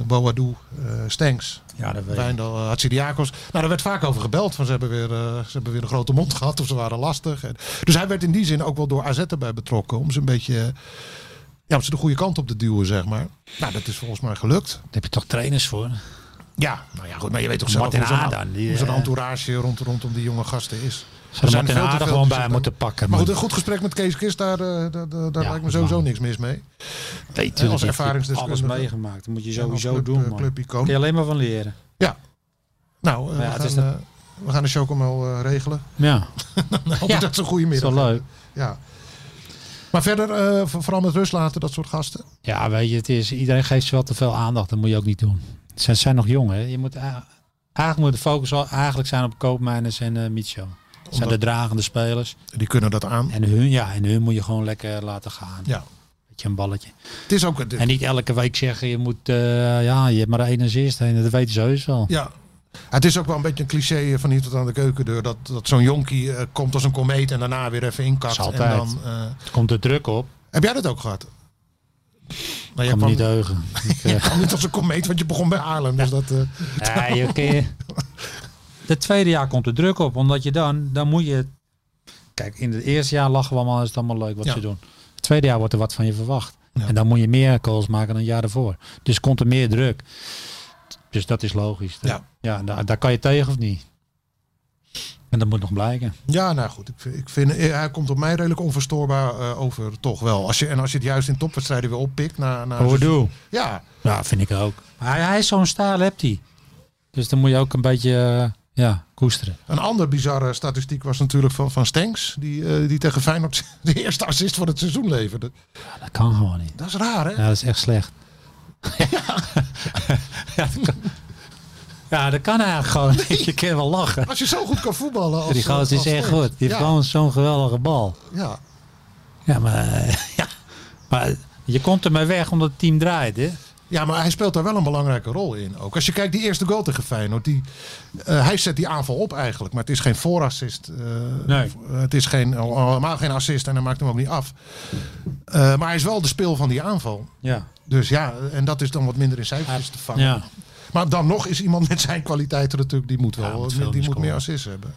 eh, Boadu, eh, Stenks, Ja, dat weet ik. Wijndal, uh, Hatsidiakos. Nou, daar werd vaak over gebeld, van ze hebben, weer, eh, ze hebben weer een grote mond gehad of ze waren lastig. En, dus hij werd in die zin ook wel door AZ erbij betrokken, om ze een beetje... eh, ja, om ze de goede kant op te duwen, zeg maar. Nou, dat is volgens mij gelukt. Daar heb je toch trainers voor? Ja, nou ja, goed. Maar je weet toch zelf Martin hoe zo'n, Haardan, die, hoe zo'n eh, entourage rond, rondom die jonge gasten is. Ze zijn moeten veel te aardig veel gewoon te bij zitten. moeten pakken. Maar goed, man. een goed gesprek met Kees Kist, daar, eh, daar, daar, daar Ja, lijkt me dat sowieso mag. niks mis mee. Nee, Als tuurlijk niet. ervaringsdeskundige. Alles meegemaakt. Dat moet je En als sowieso club, doen, eh, man. Daar clubicoon. kun je alleen maar van leren. Ja. Nou, eh, Ja, het we, is gaan, dat- eh, we gaan de chocomel eh, regelen. Ja, Dan hoop ik Ja, dat ze een goede is middag wel leuk. hebben. Ja. Maar verder, eh, voor- vooral met rust laten, dat soort gasten. Ja, weet je, het is, iedereen geeft ze wel te veel aandacht. Dat moet je ook niet doen. Ze zijn nog jong, hè. Je moet, a- eigenlijk moet de focus wel eigenlijk zijn op Koopmijners en eh Michel. Dat zijn de Omdat- dragende spelers. Die kunnen dat aan. En hun, ja, en hun moet je gewoon lekker laten gaan. Ja. Beetje een balletje. Het is ook... het- En niet elke week zeggen, je moet, eh, ja, je hebt maar één assist. En dat weten ze heus wel. Ja. Het is ook wel een beetje een cliché eh, van hier tot aan de keukendeur. Dat, dat zo'n jonkie eh, komt als een komeet en daarna weer even inkakt. Dat is En altijd. dan, eh, Het komt er druk op. heb jij dat ook gehad? Nou, Ik jij kan me kwam, niet heugen. Ik, eh, je kwam niet als een komeet, want je begon bij Haarlem. Dus dat, eh, Ja, je, je, het tweede jaar komt er druk op, omdat je dan, dan moet je. Kijk, in het eerste jaar lachen we allemaal, is het allemaal leuk wat Ja. ze doen. Het tweede jaar wordt er wat van je verwacht. Ja. En dan moet je meer calls maken dan een jaar ervoor. Dus komt er meer druk. Dus dat is logisch. Ja. ja daar, daar kan je tegen of niet. En dat moet nog blijken. ja, nou goed. Ik, vind- ik vind, eh, hij komt op mij redelijk onverstoorbaar eh, over, toch wel. Als je, en als je het juist in topwedstrijden weer oppikt. Na, na Hoe doe? Ja, Ja, vind ik ook. Maar Hij, hij is zo'n staal, hebt hij. Dus dan moet je ook een beetje eh, ja, koesteren. Een ander bizarre statistiek was natuurlijk van, van Stenks. Die, eh, die tegen Feyenoord de eerste assist van het seizoen leverde. Ja, dat kan gewoon niet. Dat is raar, hè? Ja, dat is echt slecht. Ja, dat, kan, ja, dat kan eigenlijk gewoon. niet. Je kan wel lachen. Als je zo goed kan voetballen. Als, eh, die gozer is als echt Stenks. goed. Die heeft ja, gewoon zo'n geweldige bal. ja. Ja, maar, eh, ja, maar je komt ermee weg omdat het team draait. Hè? Ja, maar hij speelt daar wel een belangrijke rol in ook. Als je kijkt, die eerste goal tegen Feyenoord. Die, eh, hij zet die aanval op eigenlijk. Maar het is geen voorassist. eh, Nee. v- Het is geen, al- al- helemaal geen assist en hij maakt hem ook niet af. Eh, maar hij is wel de speel van die aanval. Ja. Dus ja, en dat is dan wat minder in cijfertjes te vangen. ja. Maar dan nog is iemand met zijn kwaliteiten natuurlijk, die moet Ja, wel, moet veel die moet scoren. meer assists hebben.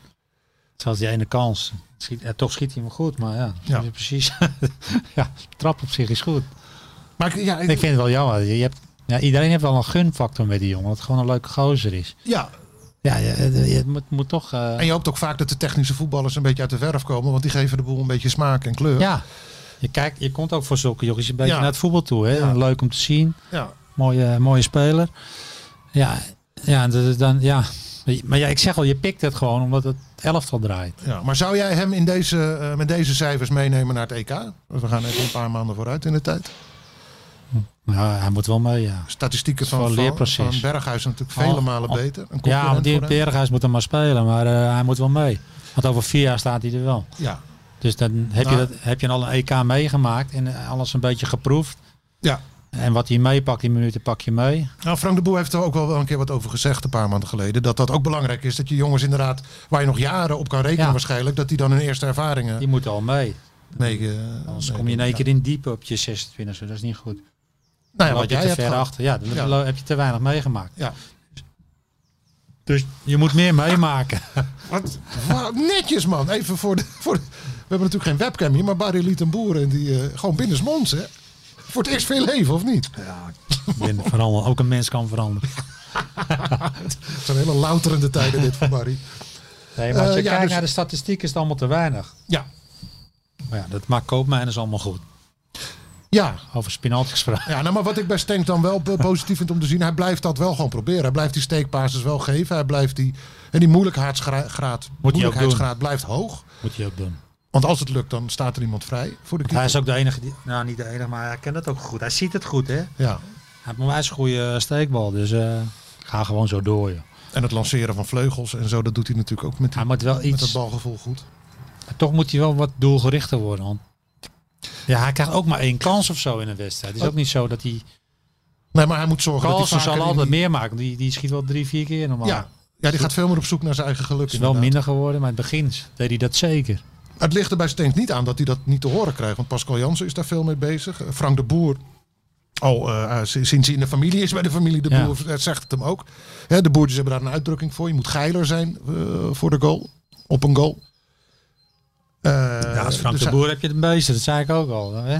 Zoals die ene kans. Het Schiet, ja, toch schiet hij hem goed, maar ja, Ja. ja. precies. ja, de trap op zich is goed. Maar ik- ja, ik- Ik vind het wel jammer. Je hebt, ja, iedereen heeft wel een gunfactor met die jongen. Dat het gewoon een leuke gozer is. ja, Ja, je, je- je moet, moet toch... eh, en je hoopt ook vaak dat de technische voetballers een beetje uit de verf komen, want die geven de boel een beetje smaak en kleur. Ja, je, kijkt, je komt ook voor zulke jongens een beetje Ja. naar het voetbal toe. Hè? Ja. Leuk om te zien. Ja. Mooie, mooie speler. Ja, ja, dat is dan, ja. Maar ja, ik zeg al, je pikt het gewoon omdat het elftal draait. Ja, maar zou jij hem in deze, eh, met deze cijfers meenemen naar het EK? Want we gaan even een paar maanden vooruit in de tijd. Nou, hij moet wel mee, ja. Statistieken wel van, een van, leerproces. van Berghuis zijn natuurlijk vele Al- malen al- beter. Een Ja, want concurrent die voor hem. Berghuis moet dan maar spelen, maar eh, hij moet wel mee. Want over vier jaar staat hij er wel. Ja. Dus dan heb, Nou. je, dat, heb je al een EK meegemaakt en eh, alles een beetje geproefd. ja. En wat hij meepakt, die minuten pak je mee. Nou, Frank de Boer heeft er ook wel een keer wat over gezegd een paar maanden geleden. Dat dat ook belangrijk is. Dat je jongens inderdaad, waar je nog jaren op kan rekenen Ja. waarschijnlijk, dat die dan hun eerste ervaringen Die moeten al mee. mee... eh, Anders mee- kom je in één ja. keer in diep op je 26, dat is niet goed. Nou ja, Dan wat loop je jij te hebt ver gehad. achter. Ja, dan Ja. lo- heb je te weinig meegemaakt. Ja. Dus je moet meer meemaken. Wat, wat netjes man. Even voor de, voor de- We hebben natuurlijk geen webcam hier, maar Barry liet een boer en die eh, gewoon binnensmonds hè. Voor het eerst veel leven, of niet? Ben veranderen. Ook een mens kan veranderen. Het zijn hele louterende tijden dit voor Barry. Nee, maar als je Eh, ja, kijkt dus- naar de statistiek is het allemaal te weinig. Ja. Maar ja, dat maakt koopmijners allemaal goed. Ja. Over spinaalt gesproken. Ja, nou, maar wat ik bij Stenk dan wel eh, positief vind om te zien, hij blijft dat wel gewoon proberen. Hij blijft die steekpases wel geven. Hij blijft die, en die moeilijkheidsgraad, moeilijkheidsgraad blijft hoog. Moet je ook doen. Want als het lukt, dan staat er iemand vrij voor de Hij keeper. is ook de enige die... Nou, niet de enige, maar hij kent het ook goed. Hij ziet het goed, hè? Hij Ja. heeft een wijs goede steekbal. Dus eh, ga gewoon zo door, joh. En het lanceren van vleugels en zo, dat doet hij natuurlijk ook met, die, Hij moet wel met dat iets... balgevoel goed. Maar toch moet hij wel wat doelgerichter Oh. worden. Want ja, hij krijgt ook maar één kans of zo in een wedstrijd. Het is ook niet zo dat hij Nee, maar hij moet zorgen dat hij Carlsen vaker zal in altijd die- meer maken. Die, die schiet wel drie, vier keer normaal. Ja, ja, die gaat veel meer op zoek naar zijn eigen geluk. is wel inderdaad. minder geworden, maar in het begin deed hij dat zeker. Het ligt er bij Steens niet aan dat hij dat niet te horen krijgt. Want Pascal Jansen is daar veel mee bezig. Eh, Frank de Boer, al eh, eh, sinds hij in de familie is bij de familie de Ja. Boer, eh, zegt het hem ook. Hè, de boertjes hebben daar een uitdrukking voor. Je moet geiler zijn eh, voor de goal. Op een goal. Eh, Ja, als Frank dus de hij- Boer heb je het meeste, dat zei ik ook al. Hè?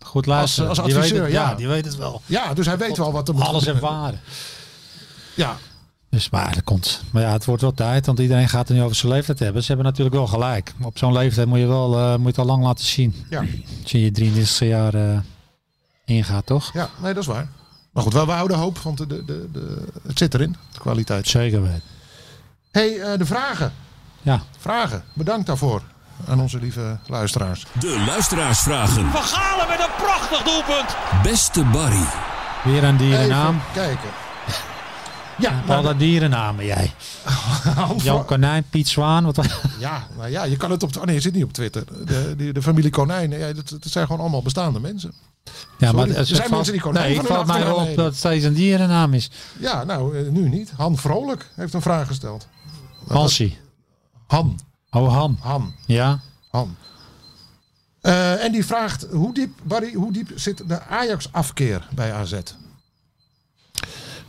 Goed luisteren. als Die weet adviseur, het- ja. die weet het wel. Ja, dus hij weet wel wat er moet Alles gebeuren. ervaren. Ja, Dus maar dat komt. Maar ja, het wordt wel tijd, want iedereen gaat het nu over zijn leeftijd hebben. Ze hebben natuurlijk wel gelijk. Maar op zo'n leeftijd moet je, wel, eh, moet je het al lang laten zien. ja, Als je je 33 jaar eh, ingaat, toch? ja, nee, dat is waar. Maar goed, wel, we houden hoop, want de, de, de, de- het zit erin, de kwaliteit. Zeker weten. hey, eh, de vragen. Ja. Vragen. Bedankt daarvoor aan onze lieve luisteraars. De luisteraarsvragen. Van Galen met een prachtig doelpunt. Beste Barry. Weer een dierennaam. Even kijken. Ja, Oh, Al nou, dat dierennamen, jij. Hans Jan van- Konijn, Piet Zwaan. Wat, ja, nou ja, je kan het op... Oh nee, je zit niet op Twitter. De, de, de familie Konijn, ja, dat, dat zijn gewoon allemaal bestaande mensen. ja, Sorry, het- er zijn het valt- mensen die konijn Nee, van het hun valt mij achternaam op heen. dat het steeds een dierennaam is. Ja, nou, eh, nu niet. Han Vrolijk heeft een vraag gesteld. Hansie. Han, Oh, Han. Han, Ja. Han. Eh, en die vraagt, hoe diep, Barry, hoe diep zit de Ajax-afkeer bij AZ?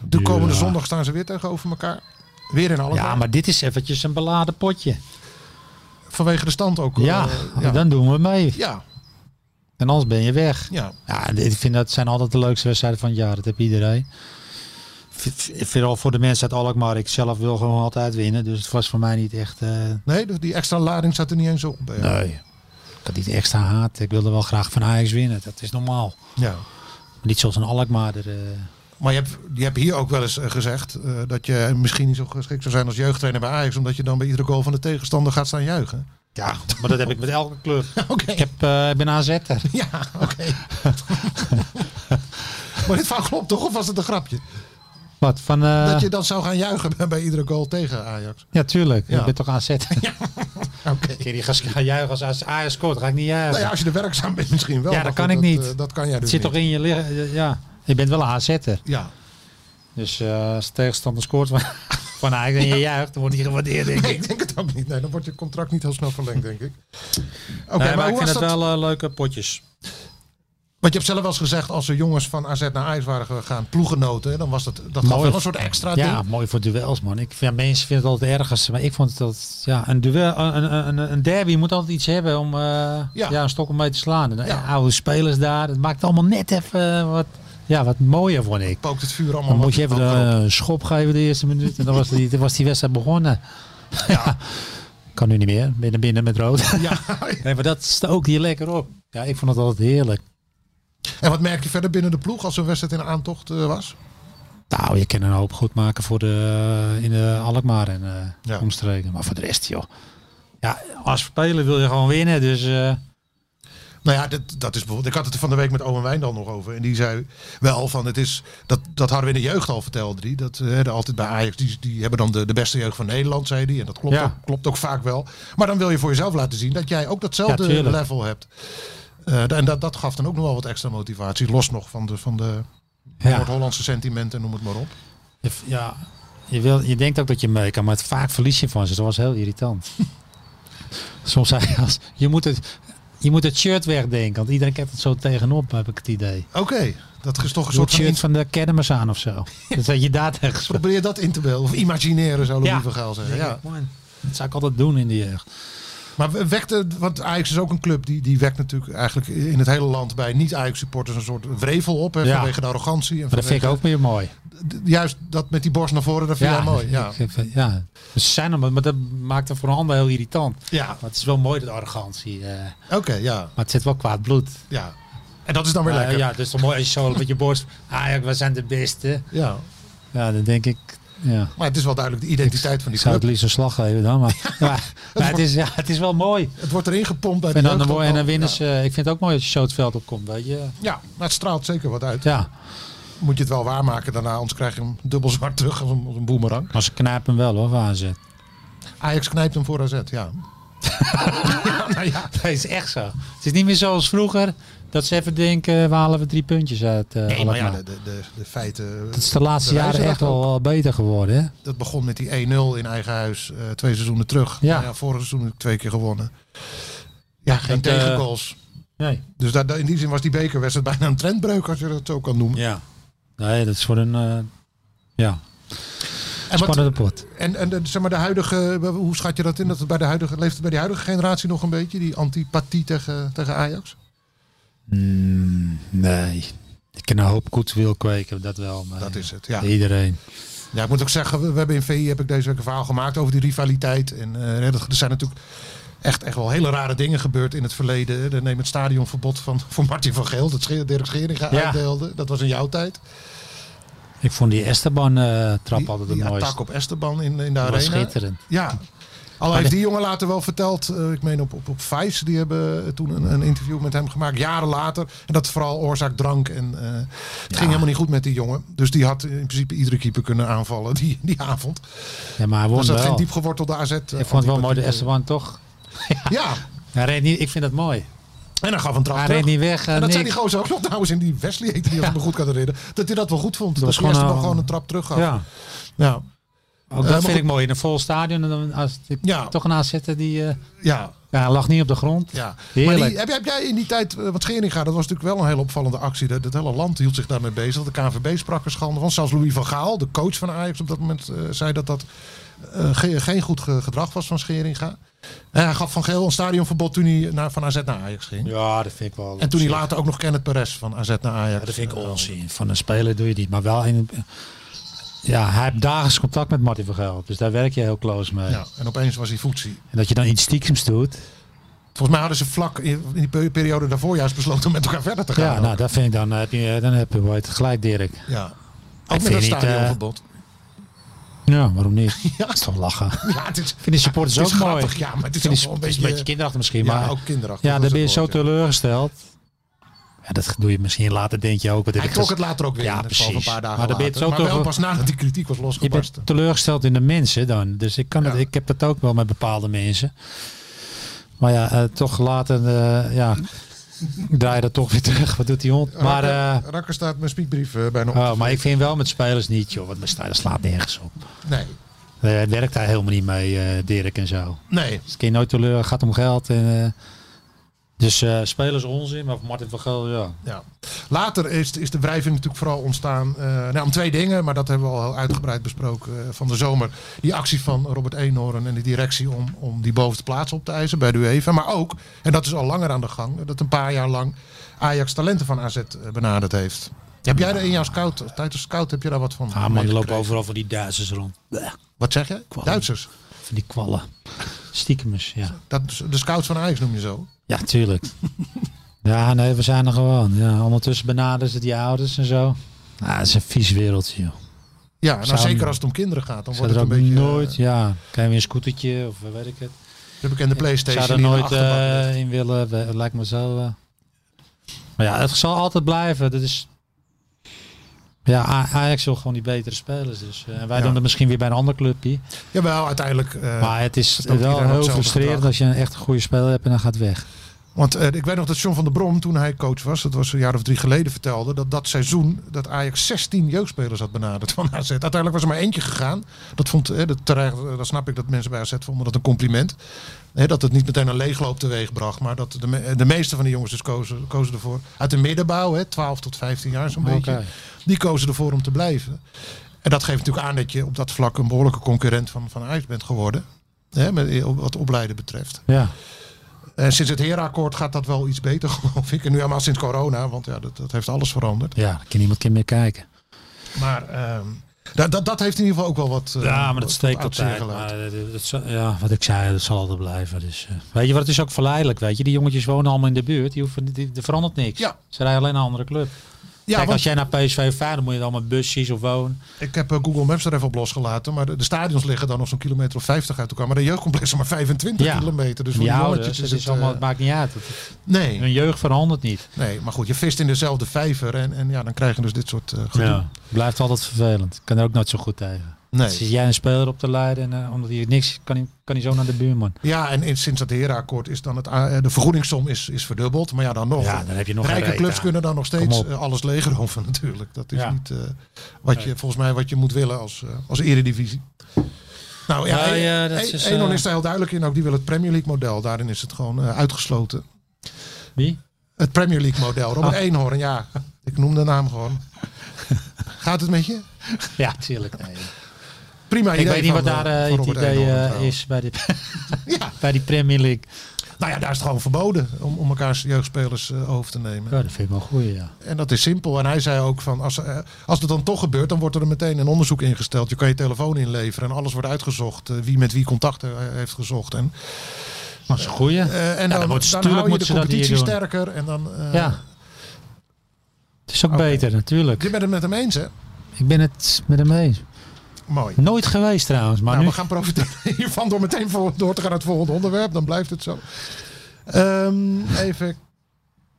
De komende Ja. zondag staan ze weer tegenover elkaar. Weer in alle Ja, maar dit is eventjes een beladen potje. vanwege de stand ook. Ja, eh, ja. dan doen we mee. ja, En anders ben je weg. ja. Ja, ik vind dat zijn altijd de leukste wedstrijden van het jaar. Dat heb iedereen. V- v- Vooral voor de mensen uit Alkmaar. Ik zelf wil gewoon altijd winnen. Dus het was voor mij niet echt... eh, Nee, dus die extra lading zat er niet eens op. eh. bij jou. nee. Ik had niet extra haat. Ik wilde wel graag van Ajax winnen. Dat is normaal. Ja. Maar niet zoals een Alkmaar. Er, eh, Maar je hebt, je hebt hier ook wel eens eh, gezegd eh, dat je misschien niet zo geschikt zou zijn als jeugdtrainer bij Ajax. Omdat je dan bij iedere goal van de tegenstander gaat staan juichen. Ja, maar dat heb ik met elke club. Oké. Ik, heb, eh, ik ben AZ'er. Ja, oké. maar dit verhaal klopt toch? Of was het een grapje? Eh. Wat, van... eh, dat je dan zou gaan juichen bij- bij iedere goal tegen Ajax. Ja, tuurlijk. Ja. Ik ben toch AZ'er. Ja. Oké. Die gast gaan juichen als- als Ajax scoort. Ga ik niet juichen. Nou ja, als je er werkzaam bent misschien wel. Ja, dat maar kan ik niet. eh, dat kan jij Het dus zit niet. toch in je lichaam. Ja, je bent wel een AZ'er. Ja. Dus eh, als de tegenstander scoort van, van Ajax en je juicht, dan wordt hij gewaardeerd, denk ik. Nee, ik denk het ook niet. Nee, dan wordt je contract niet heel snel verlengd, denk ik. Oké, Nee, maar, hoe ik vind was het dat? wel eh, leuke potjes. Want je hebt zelf wel eens gezegd, als er jongens van AZ naar IJs waren gegaan, ploegenoten, hè, dan was dat, dat gaf Mooi. wel een soort extra Ja, ding. mooi voor duels, man. Ik, ja, mensen vinden het altijd ergens. Maar ik vond dat ja, een, duel, een, een- een, een derby moet altijd iets hebben om eh, ja. een stok om mee te slaan. En, de Ja. Oude spelers daar. Het maakt het allemaal net even eh, wat, ja, wat mooier, vond ik. Pookt het vuur allemaal. Dan wat- moet je even wat erop. de schop geven de eerste minuut. En dan was die, dan was die wedstrijd begonnen. Ja. Kan nu niet meer. Binnen binnen met rood. Ja. Nee, maar dat stookt hier lekker op. Ja, ik vond het altijd heerlijk. En wat merk je verder binnen de ploeg als zo'n wedstrijd in aantocht eh, was? Nou, je kan een hoop goed maken voor de, eh, in de Alkmaar en eh, Ja. omstreken. Maar voor de rest, joh. Ja, als speler wil je gewoon winnen. Dus eh, Nou ja, dat, dat is bijvoorbeeld. Ik had het er van de week met Owen Wijndal nog over. En die zei wel van het is. Dat, dat hadden we in de jeugd al verteld. Die, dat eh, de- altijd bij Ajax. Die, die hebben dan de, de beste jeugd van Nederland, zei die. En dat klopt, Ja. ook, klopt ook vaak wel. Maar dan wil je voor jezelf laten zien dat jij ook datzelfde Ja, tuurlijk. level hebt. Eh, en dat, dat gaf dan ook nog wel wat extra motivatie. Los nog van de, van de ja. Noord-Hollandse sentimenten, noem het maar op. Je- ja je, wil, je denkt ook dat je mee kan, maar het, vaak verlies je van ze. Dat was heel irritant. Soms zei je als, je moet het... Je moet het shirt wegdenken, want iedereen kijkt het zo tegenop, heb ik het idee. Oké, dat is toch een Doe het soort van. shirt in- van de kermis aan of zo. Dat dat je daar tegen speelt. Probeer dat in te beelden. Of imagineren, zou Louis Ja. van Gaal zeggen. Ja. Ja. man. Dat zou ik altijd doen in de jeugd. Maar wekte, want Ajax is ook een club die, die wekt natuurlijk eigenlijk in het hele land bij niet-Ajax-supporters een soort wrevel op. Hè, Ja. Vanwege de arrogantie. En Maar dat vind ik ook weer mooi. vanwege- d- Juist dat met die borst naar voren, dat vind jij mooi. Ja. ik vind- ja. Dus Ze zijn er, maar maar dat maakt het voor een ander heel irritant. Ja, Maar het is wel mooi, dat arrogantie. eh. oké, ja, maar het zit wel kwaad bloed. ja. En dat is dan weer Maar, lekker. ja, het is toch mooi als je zo met je borst... Ah ja, we zijn de beste. Ja. Ja, dan denk ik... Ja. Maar het is wel duidelijk de identiteit van Ik die zou het club. liefst een slag geven dan, maar, maar, maar het, is, ja, het is wel mooi. Het wordt erin gepompt bij En de dan, jeugd dan, en ook dan al. winnen Ja. ze... Ik vind het ook mooi als je zo het veld opkomt, weet je. Ja, maar het straalt zeker wat uit. Ja, Moet je het wel waarmaken daarna, anders krijg je hem dubbel zwart terug als een, als een boemerang. maar ze knijpen hem wel hoor, waar ze. Ajax knijpt hem voor AZ, ja. nou ja, Dat is echt zo. Het is niet meer zoals vroeger dat ze even denken, we halen we drie puntjes uit. eh nee, maar ja, Alkmaar. de, de, de, de feiten. dat is de laatste de jaren wijzen echt echt wel wel beter geworden. Hè? Dat begon met die 1-0 in eigen huis. eh, twee seizoenen terug. Ja. Nou ja, vorig seizoen twee keer gewonnen. Ja, geen Dat, eh, tegengoals. Nee. Dus daar- daar- in die zin was die bekerwedstrijd bijna een trendbreuk, als je dat zo kan noemen. Ja. Nee, dat is voor een eh, ja, en, wat- spannende pot. en, en de- zeg maar de huidige, eh, hoe schat je dat in? Dat het bij de huidige, leeft het bij de huidige generatie nog een beetje, die antipathie tegen, tegen Ajax? Mm, nee. Ik kan een hoop goodwill kweken, dat wel. Maar Dat is het, ja. Iedereen. Ja, ik moet ook zeggen, we, we hebben in VI heb ik deze week een verhaal gemaakt over die rivaliteit. En eh, ja, dat- er zijn natuurlijk echt, echt wel hele rare dingen gebeurd in het verleden. Dan neem het stadionverbod van, voor Martin van Geel, dat Sche- Dirk Scheringa Ja. uitdeelde. Dat was in jouw tijd. Ik vond die Esteban-trap Die, altijd die het attack mooiste. op Esteban in, in de Dat was arena. schitterend. Ja. Al heeft die jongen later wel verteld, eh, ik meen op, op, op Vice, die hebben toen een, een interview met hem gemaakt, jaren later. En dat vooral oorzaak drank. En eh, het ging helemaal niet goed met die jongen. Dus die had in principe iedere keeper kunnen aanvallen die, die avond. Ja, maar hij won Was dat geen wel. diepgewortelde AZ? eh, Ik vond het wel mooi, de antipathie? Esteban toch. Ja, Hij reed niet, ik vind dat mooi. en dan gaf een trap Hij terug. reed niet weg. eh, en dat zei niks. die gozer ook nog trouwens in die Wesley heette die, als ik me goed kan herinneren. Dat hij dat wel goed vond. Dat, was hij gewoon eerst nog een- gewoon een trap terug gaf. Ja, Ja. ook Oh. Eh, dat maar vind ik goed. mooi. In een vol stadion. En dan als ik Ja. toch een aanzetter die... eh, ja, ja, hij lag niet op de grond. Ja, Heerlijk. maar die, heb, heb jij in die tijd, eh, wat Scheringa, dat was natuurlijk wel een hele opvallende actie. Dat, het hele land hield zich daarmee bezig. De KNVB sprak er schande van. Zelfs Louis van Gaal, de coach van Ajax op dat moment, eh, zei dat dat eh, ge- geen goed ge- gedrag was van Scheringa. En hij gaf Van Geel een stadionverbod toen hij naar, van AZ naar Ajax ging. Ja, dat vind ik wel... En toen hij later ook nog Kenneth Perez van AZ naar Ajax. Ja, dat vind ik eh, onzin. Van een speler doe je niet. Maar wel in... Ja, hij heeft dagelijks contact met Martin van Gaal. Dus daar werk je heel close mee. Ja, en opeens was hij voetsie. En dat je dan iets stiekems doet. Volgens mij hadden ze vlak in in die pe- periode daarvoor juist besloten om met elkaar verder te gaan. Ja, ook. nou, dat vind ik dan. Heb je, dan heb je wel het gelijk, Dirk. ja. Ook vind met dat niet, eh, stadionverbod. Ja, waarom niet? Dat is toch lachen. ja, het is, Vind die supporters het is ook mooi. grappig, ja, maar het is Vind ook die- wel een het is beetje- kinderachtig misschien, Ja, maar ook kinderachtig, Ja, dat dan is ben je het zo woord, ja. teleurgesteld. Ja, dat doe je misschien later, denk je ook. wat Hij Dirk trok gez- het later ook weer. Ja, in, het geval van precies. Een paar dagen Maar maar, dan ben je later. het zo maar wel toch- pas nadat die kritiek was Je losgebarsten. bent teleurgesteld in de mensen dan. Dus ik, kan het, Ja. ik heb dat ook wel met bepaalde mensen. Maar ja, eh, toch later eh, ja, draai dat toch weer terug. Wat doet die hond? Maar, eh, Rakker, Rakker staat mijn spiekbrief eh, bijna op. oh, maar ik vind wel met spelers niet, joh. Want mijn stijl slaat nergens op. nee, Eh, werkt hij helemaal niet mee, eh, Dirk en zo. nee. Dus kun je nooit teleur, gaat om geld. En, eh, dus eh, spelers onzin, maar voor Martin van Gaal, ja. Ja. Later is, is de wrijving natuurlijk vooral ontstaan eh, nou, om twee dingen. Maar dat hebben we al heel uitgebreid besproken eh, van de zomer. Die actie van Robert Eenhoorn en de directie om, om die bovenste plaats op te eisen bij de UEFA. Maar ook, en dat is al langer aan de gang, dat een paar jaar lang Ajax talenten van AZ benaderd heeft. Heb jij er in jouw scout, tijdens scout, heb je daar wat van? Ah man, er lopen meegekregen? overal van die Duitsers rond. Blech, Wat zeg je? Duitsers. Van die kwallen. Stiekemers, ja. Dat, is- de scouts van Ajax noem je zo. Ja, tuurlijk. ja, nee, we zijn er gewoon. Ja, ondertussen benaderen ze die ouders en zo. Nou, het is een vies wereldje, joh. Ja, nou Zou- zeker als het om kinderen gaat. Dan Zou wordt er het ook een beetje nooit, eh, ja, kan je weer een scootertje of eh, weet ik het. de bekende Playstation. Zou er die in de nooit achterbak eh, ligt. in willen, we- het lijkt me zo. eh. Maar ja, het zal altijd blijven. Dat is... Ja, A- Ajax wil gewoon die betere spelers. Dus. eh, en wij Ja. doen het misschien weer bij een ander clubje. Jawel, uiteindelijk. eh, maar het is doet iedereen wel heel hetzelfde frustrerend gedrag. als je een echt goede speler hebt en dan gaat weg. Want eh, ik weet nog dat John van der Brom, toen hij coach was, dat was een jaar of drie geleden, vertelde dat dat seizoen dat Ajax 16 jeugdspelers had benaderd van AZ. Uiteindelijk was er maar eentje gegaan. Dat vond, eh, dat, terecht, eh, dat snap ik dat mensen bij AZ vonden dat een compliment. Hè, dat het niet meteen een leegloop teweeg bracht, maar dat de, me- eh, de meeste van die jongens dus kozen, kozen ervoor. Uit de middenbouw, hè, 12 tot 15 jaar zo'n Oké. beetje. Die kozen ervoor om te blijven. En dat geeft natuurlijk aan dat je op dat vlak een behoorlijke concurrent van, van Ajax bent geworden. Hè, met, eh, wat opleiden betreft. Ja. En Eh, sinds het herenakkoord gaat dat wel iets beter, geloof ik. En nu helemaal sinds corona, want ja, dat, dat heeft alles veranderd. ja, daar kan niemand meer kijken. Maar ehm, dat, dat, dat heeft in ieder geval ook wel wat. eh, Ja, maar wat dat steekt uit zich altijd. gelaten. Maar, eh, dat zal- ja, wat ik zei, dat zal altijd blijven. Dus, eh, weet je wat, het is ook verleidelijk, weet je. Die jongetjes wonen allemaal in de buurt. Die hoeven, die, er verandert niks. Ja. Ze rijden alleen naar een andere club. ja, Kijk, want als jij naar PSV vaart, dan moet je dan met busjes of wonen. ik heb eh, Google Maps er even op losgelaten. Maar de, de stadions liggen dan nog zo'n kilometer of 50 uit elkaar. Maar de jeugdcomplex is maar 25 Ja. kilometer. Dus Die, voor die ouders, jongetjes is het, is het... allemaal, eh, het maakt niet uit. nee, Hun jeugd verandert niet. nee, maar goed, je vist in dezelfde vijver. En, en ja, dan krijg je dus dit soort eh gedoe. Ja. Blijft altijd vervelend. Kan er ook nooit zo goed tegen. Zit Nee. jij een speler op te leiden en eh, omdat hij niks kan, hij- kan hij zo naar de buurman. Ja, en in- sinds dat herenakkoord is dan het, A- eh, de vergoedingssom is, is verdubbeld. Maar ja, dan nog. Ja, dan heb je nog geen Rijke reet clubs aan. kunnen dan nog steeds op. eh, alles legeroven natuurlijk. Dat is Ja. niet eh, wat je, volgens mij wat je moet willen als, eh, als eredivisie. Nou ja, Nee, eh, eh, dat eh, is, Enon eh, is daar heel duidelijk in. Ook die wil het Premier League model. Daarin is het gewoon eh, uitgesloten. Wie? Het Premier League model. Robert Ah. Eenhoorn, ja. Ik noem de naam gewoon. Gaat het met je? Ja, tuurlijk. Prima idee Ik weet niet van, wat daar eh, eh, van het Robert idee Eenhoorn eh, trouwens. is bij de, Ja, bij die Premier League. nou ja, daar is het gewoon verboden om, om elkaars jeugdspelers eh, over te nemen. Ja, Oh, dat vind ik wel goed, ja. En dat is simpel. En hij zei ook van, als, eh, als het dan toch gebeurt, dan wordt er meteen een onderzoek ingesteld. Je kan je telefoon inleveren en alles wordt uitgezocht. eh, wie met wie contact eh, heeft gezocht. En, Maar dat is een goeie. eh, en Ja, dan, dan dan, moet- tuurlijk hou je moeten de ze dat hier competitie doen. sterker. En dan, eh, ja. Het is ook oké. beter, natuurlijk. Je bent het met hem eens, hè? Ik ben het met hem eens. Mooi. Nooit geweest trouwens, maar nou, nu... we gaan profiteren hiervan door meteen voor, door te gaan naar het volgende onderwerp. Dan blijft het zo. Ehm, even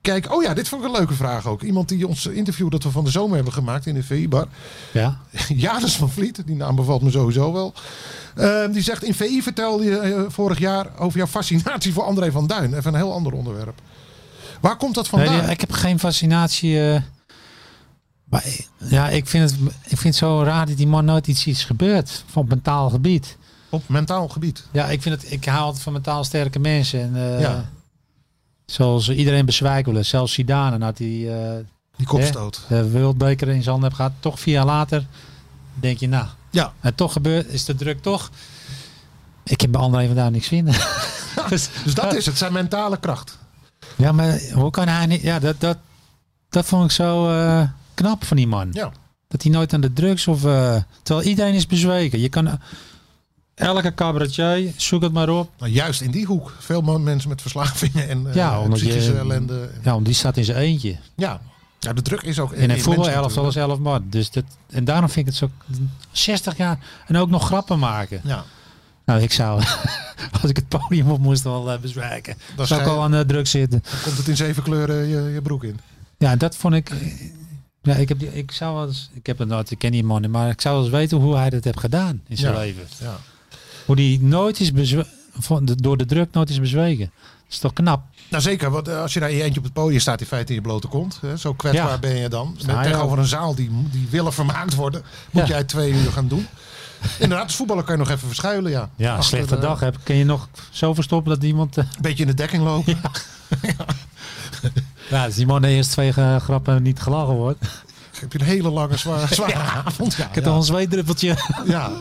kijken. Oh ja, dit vond ik een leuke vraag ook. Iemand die ons interview dat we van de zomer hebben gemaakt in de VI-bar. Ja, Janus van Vliet, die naam bevalt me sowieso wel. Ehm, die zegt, in VI vertelde je eh, vorig jaar over jouw fascinatie voor André van Duin. Even een heel ander onderwerp. Waar komt dat vandaan? Nee, die- ik heb geen fascinatie. eh, maar, ja, ik vind, het, ik vind het zo raar dat die man nooit iets, iets gebeurt. Van mentaal gebied. Op mentaal gebied. Ja, ik, vind het, ik hou altijd van mentaal sterke mensen. En, eh, Ja. Zoals iedereen bezwijkt wel eens. Zelfs Zidane nadat hij eh Die kopstoot. de wereldbeker in zijn handen heeft gehad. Toch vier jaar later denk je, nou. Ja. En toch gebeurt, is de druk toch. Ik heb bij André vandaag niks vinden. Dus- Dus dat is het, zijn mentale kracht. ja, maar hoe kan hij niet... Ja, dat, dat, dat vond ik zo eh, knap van die man. Ja. Dat hij nooit aan de drugs of... eh, terwijl iedereen is bezweken. Je kan... Elke cabaretier, zoek het maar op. Nou, juist in die hoek. Veel mo- mensen met verslavingen en eh, Ja, omdat je- psychische ellende. En- Ja, want die staat in zijn eentje. Ja. ja, de druk is ook In een voetbal immens 11 alles natuurlijk. 11 man. Dus dat, en daarom vind ik het zo... 60 jaar en ook nog grappen maken. Ja, Nou, ik zou... Als ik het podium op moest wel eh, bezwijken. Dan zou ik schij- al aan de drugs zitten. dan komt het in zeven kleuren je, je broek in. Ja, dat vond ik. Ja, ik, heb die, ik zou wel eens. Ik heb het nooit, ik ken die man, niet, maar ik zou wel eens weten hoe hij dat heeft gedaan in zijn Ja. leven. Ja. Hoe die nooit is bezwe- van de- door de druk nooit is bezwegen. Dat is toch knap? Nou zeker, want eh, als je daar in je eentje op het podium staat, in feite in je blote kont. Hè, zo kwetsbaar Ja. ben je dan. Met, Sta je tegenover een zaal die, die willen vermaakt worden, moet Ja. jij twee uur gaan doen. Inderdaad, als voetballer kan je nog even verschuilen. Ja, Ja, Achter, slechte eh, dag heb, kun je nog zo verstoppen dat iemand. eh, Een beetje in de dekking lopen. ja, als die man de eerste twee eh, grappen niet gelachen wordt. Heb je een hele lange, zwaar, zware avond. Ja, Ik ja. heb al een zweetdruppeltje. ja.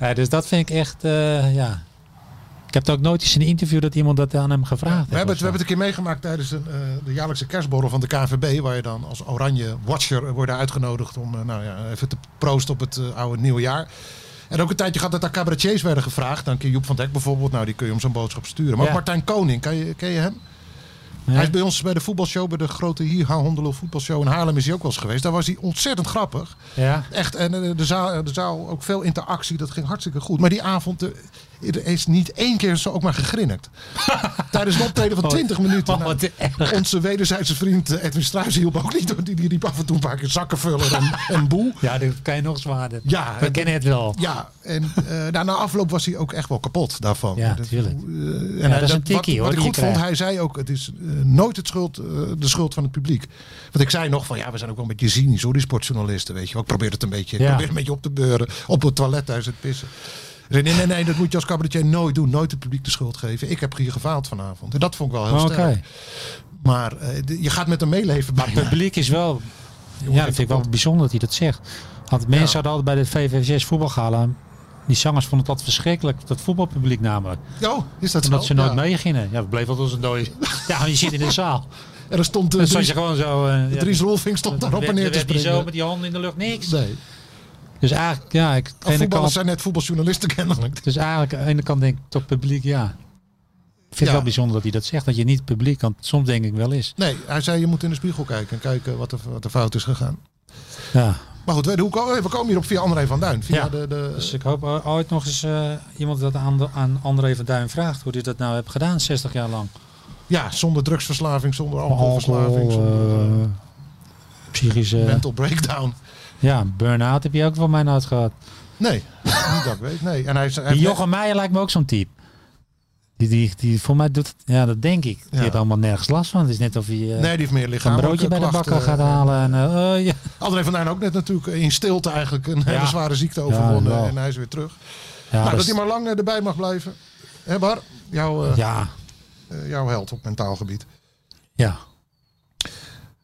ja, dus dat vind ik echt. eh, ja. Ik heb het ook nooit eens in een interview dat iemand dat aan hem gevraagd We, hebben het, we heeft. hebben het een keer meegemaakt tijdens een, eh, de jaarlijkse kerstborrel van de KNVB. Waar je dan als oranje watcher eh, wordt uitgenodigd om eh, nou ja, even te proosten op het eh, oude nieuwe jaar. En ook een tijdje gehad dat daar cabaretiers werden gevraagd. Dan keer Joep van Dek bijvoorbeeld. Nou, die kun je om zo'n boodschap sturen. Maar Ja. Martijn Koning, ken je, ken je hem? Nee. Hij is bij ons bij de voetbalshow, bij de grote Hier Ha Hondelul voetbalshow in Haarlem is hij ook wel eens geweest. Daar was hij ontzettend grappig. Ja. Echt, en eh, de zaal, de zaal ook veel interactie, dat ging hartstikke goed. Maar die avond eh, er is niet één keer zo ook maar gegrinnikt. Tijdens een optreden van 20 minuten. Oh, wat erg. onze wederzijdse vriend eh, Edwin Struijs hielp ook niet. hoor. Die, die riep af en toe een paar keer zakkenvuller en, en boel. Ja, dat kan je nog zwaarder. Ja, we en- kennen het wel. Ja, en eh, na- na afloop was hij ook echt wel kapot daarvan. Ja, Dat- tuurlijk. eh, en Ja, hij- dat is een tikkie, wat, hoor, Wat ik die goed je vond, krijgt. hij zei ook, het is eh, nooit het schuld, eh, de schuld van het publiek. Want ik zei nog van, ja, we zijn ook wel een beetje cynisch hoor, die sportjournalisten, weet je wel. Ik probeer het een beetje, ik Ja. probeer een beetje op te beuren, op het toilet tijdens het pissen. Ik zei, nee, nee, nee, dat moet je als cabaretier nooit doen. Nooit het publiek de schuld geven. Ik heb hier gefaald vanavond. En dat vond ik wel heel Oh, Oké. sterk. Maar eh, de- je gaat met hem meeleven. Maar het bijna. publiek is wel. Ja, dat vind ik wel bijzonder dat hij dat zegt. Want mensen hadden altijd bij de VVV6 voetbalgala. Die zangers vonden het altijd verschrikkelijk, dat voetbalpubliek namelijk. Oh, is dat Omdat zo? ze nooit Ja. meegingen. Ja, we bleven altijd als een dode. Ja, je zit in de zaal. En er stond eh, Dan stond Dries, je gewoon zo. eh, ja, Dries Rolfing stond daarop en werd- neer te werd hij zo springen. met die handen in de lucht, niks. Nee. Dus eigenlijk, ja, ik, aan de ene Voetballers kant, zijn net voetbaljournalisten kennelijk. dus eigenlijk, aan de ene kant denk ik, toch publiek, ja. Ik vind Ja. het wel bijzonder dat hij dat zegt, dat je niet het publiek kan. Soms denk ik wel eens. Nee, hij zei je moet in de spiegel kijken en kijken wat er, wat er fout is gegaan. Ja. Maar goed, we, hoe, ko- oh, we komen hier op via André van Duin. Via Ja. de, de, Dus ik hoop o- ooit nog eens eh, iemand dat aan, de- aan André van Duin vraagt. Hoe hij dat nou heeft gedaan 60 jaar lang. ja, zonder drugsverslaving, zonder alcoholverslaving, zonder eh, psychische... mental breakdown. Ja, burn-out heb je ook van mij uit gehad. Nee, niet dat ik weet. Nee. En hij, is- hij Die heeft- Jochem Meijer lijkt me ook zo'n type. Die, die, die voor mij doet, ja, dat denk ik. Die Ja. heeft allemaal nergens last van. Het is net of hij eh, Nee, die heeft meer een lichamelijke broodje bij de klachten. bakker gaat halen. En, eh, oh, ja. André van Duin ook net natuurlijk in stilte eigenlijk een hele zware ziekte overwonnen. wel. en hij is weer terug. Ja, nou, dat dat is- hij maar lang eh, erbij mag blijven. Hè Bar, jouw, eh, ja, eh, jouw held op mentaal gebied. ja.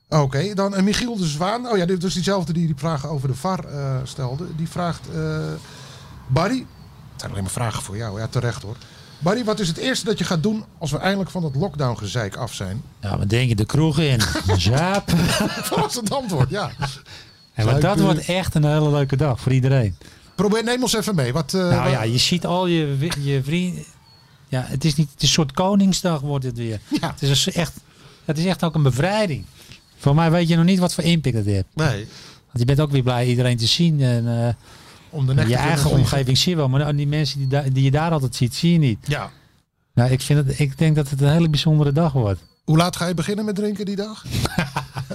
Oké, dan eh, Michiel de Zwaan. Oh ja, dit is diezelfde die die vragen over de VAR eh, stelde. Die vraagt, eh, Barry, het zijn alleen maar vragen voor jou. Ja, terecht hoor. Barry, wat is het eerste dat je gaat doen als we eindelijk van dat lockdown gezeik af zijn? Ja, wat denk je? De kroeg in. Zaap. Dat was het antwoord, ja. En want dat Zuipen. wordt echt een hele leuke dag voor iedereen. Probeer, neem ons even mee. Wat, eh, Nou wat- ja, je ziet al je, wi- je vrienden. Ja, het is niet. Het is een soort Koningsdag wordt het weer. Ja. Het, is een s- echt, het is echt ook een bevrijding. Voor mij weet je nog niet wat voor impact het heeft. Nee, Want je bent ook weer blij iedereen te zien. En, eh, om de nek je te eigen vliegen. omgeving zie je wel. Maar nou, die mensen die, da- die je daar altijd ziet, zie je niet. Ja. Nou, ik, vind het, ik denk dat het een hele bijzondere dag wordt. Hoe laat ga je beginnen met drinken die dag?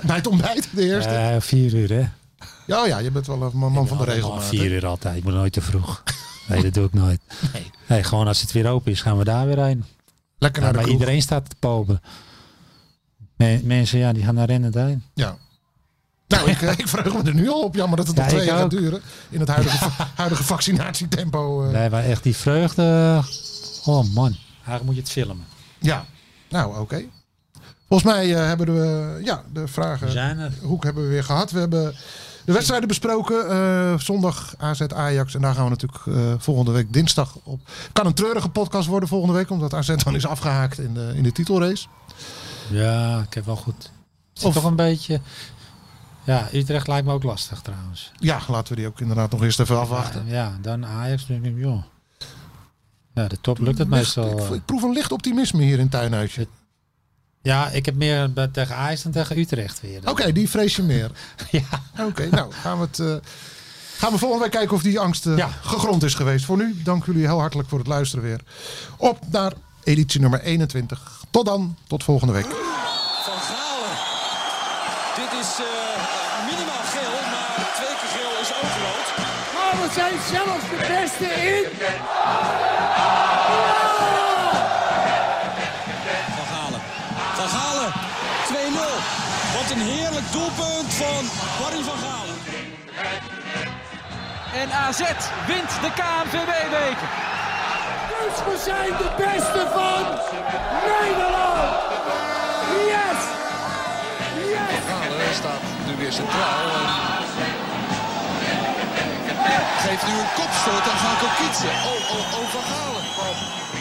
Bij het ontbijt, de eerste. Eh, vier uur, hè? Ja, ja, je bent wel een man van de Oh, regel. Vier uur altijd. Ik moet nooit te vroeg. Nee, dat doe ik nooit. Nee. gewoon als het weer open is, gaan we daar weer heen. Lekker Ja, naar de maar kroeg. iedereen staat te popen. Men- mensen, ja, die gaan naar rennen heen. Ja. Nou, ik, eh, ik verheug me er nu al op. Jammer dat het Ja, nog twee ik jaar gaat ook. duren. In het huidige, va- huidige vaccinatietempo. eh. Nee, maar echt die vreugde. Oh man. Eigenlijk moet je het filmen. Ja. Nou, oké. Volgens mij eh, hebben we ja, de We vragen... zijn er. Hoek hebben we weer gehad. We hebben de wedstrijden besproken. eh, zondag AZ Ajax. En daar gaan we natuurlijk eh, volgende week dinsdag op. Kan een treurige podcast worden volgende week. Omdat AZ dan is afgehaakt in de, in de titelrace. Ja, ik heb wel goed. Het Of- is toch een beetje. Ja, Utrecht lijkt me ook lastig trouwens. Ja, laten we die ook inderdaad nog eerst even afwachten. Ja, ja, dan Ajax. denk ik, joh. Ja, de top lukt het Licht- meestal. Dus ik, eh. ik proef een licht optimisme hier in Tuinhuisje. Ja, ik heb meer bij- tegen Ajax dan tegen Utrecht weer. Oké, die vrees je meer. Ja. Oké, nou gaan we het. eh, Gaan we volgende week kijken of die angst eh, Ja. gegrond is geweest. Voor nu, dank jullie heel hartelijk voor het luisteren weer. Op naar editie nummer 21. Tot dan, tot volgende week. Van Galen. Dit is eh, minimaal geel, maar twee keer geel is ook rood. Maar Oh, we zijn zelfs de beste in. Van Galen. Van Galen. 2-0. Wat een heerlijk doelpunt van Barry van Galen. En AZ wint de KNVB-beker. Dus we zijn de beste van Nederland. Yes! Yes! Galen staat nu weer centraal. En... Geef nu een kopstoot aan Gakokitse. Oh, oh, oh, Van Galen.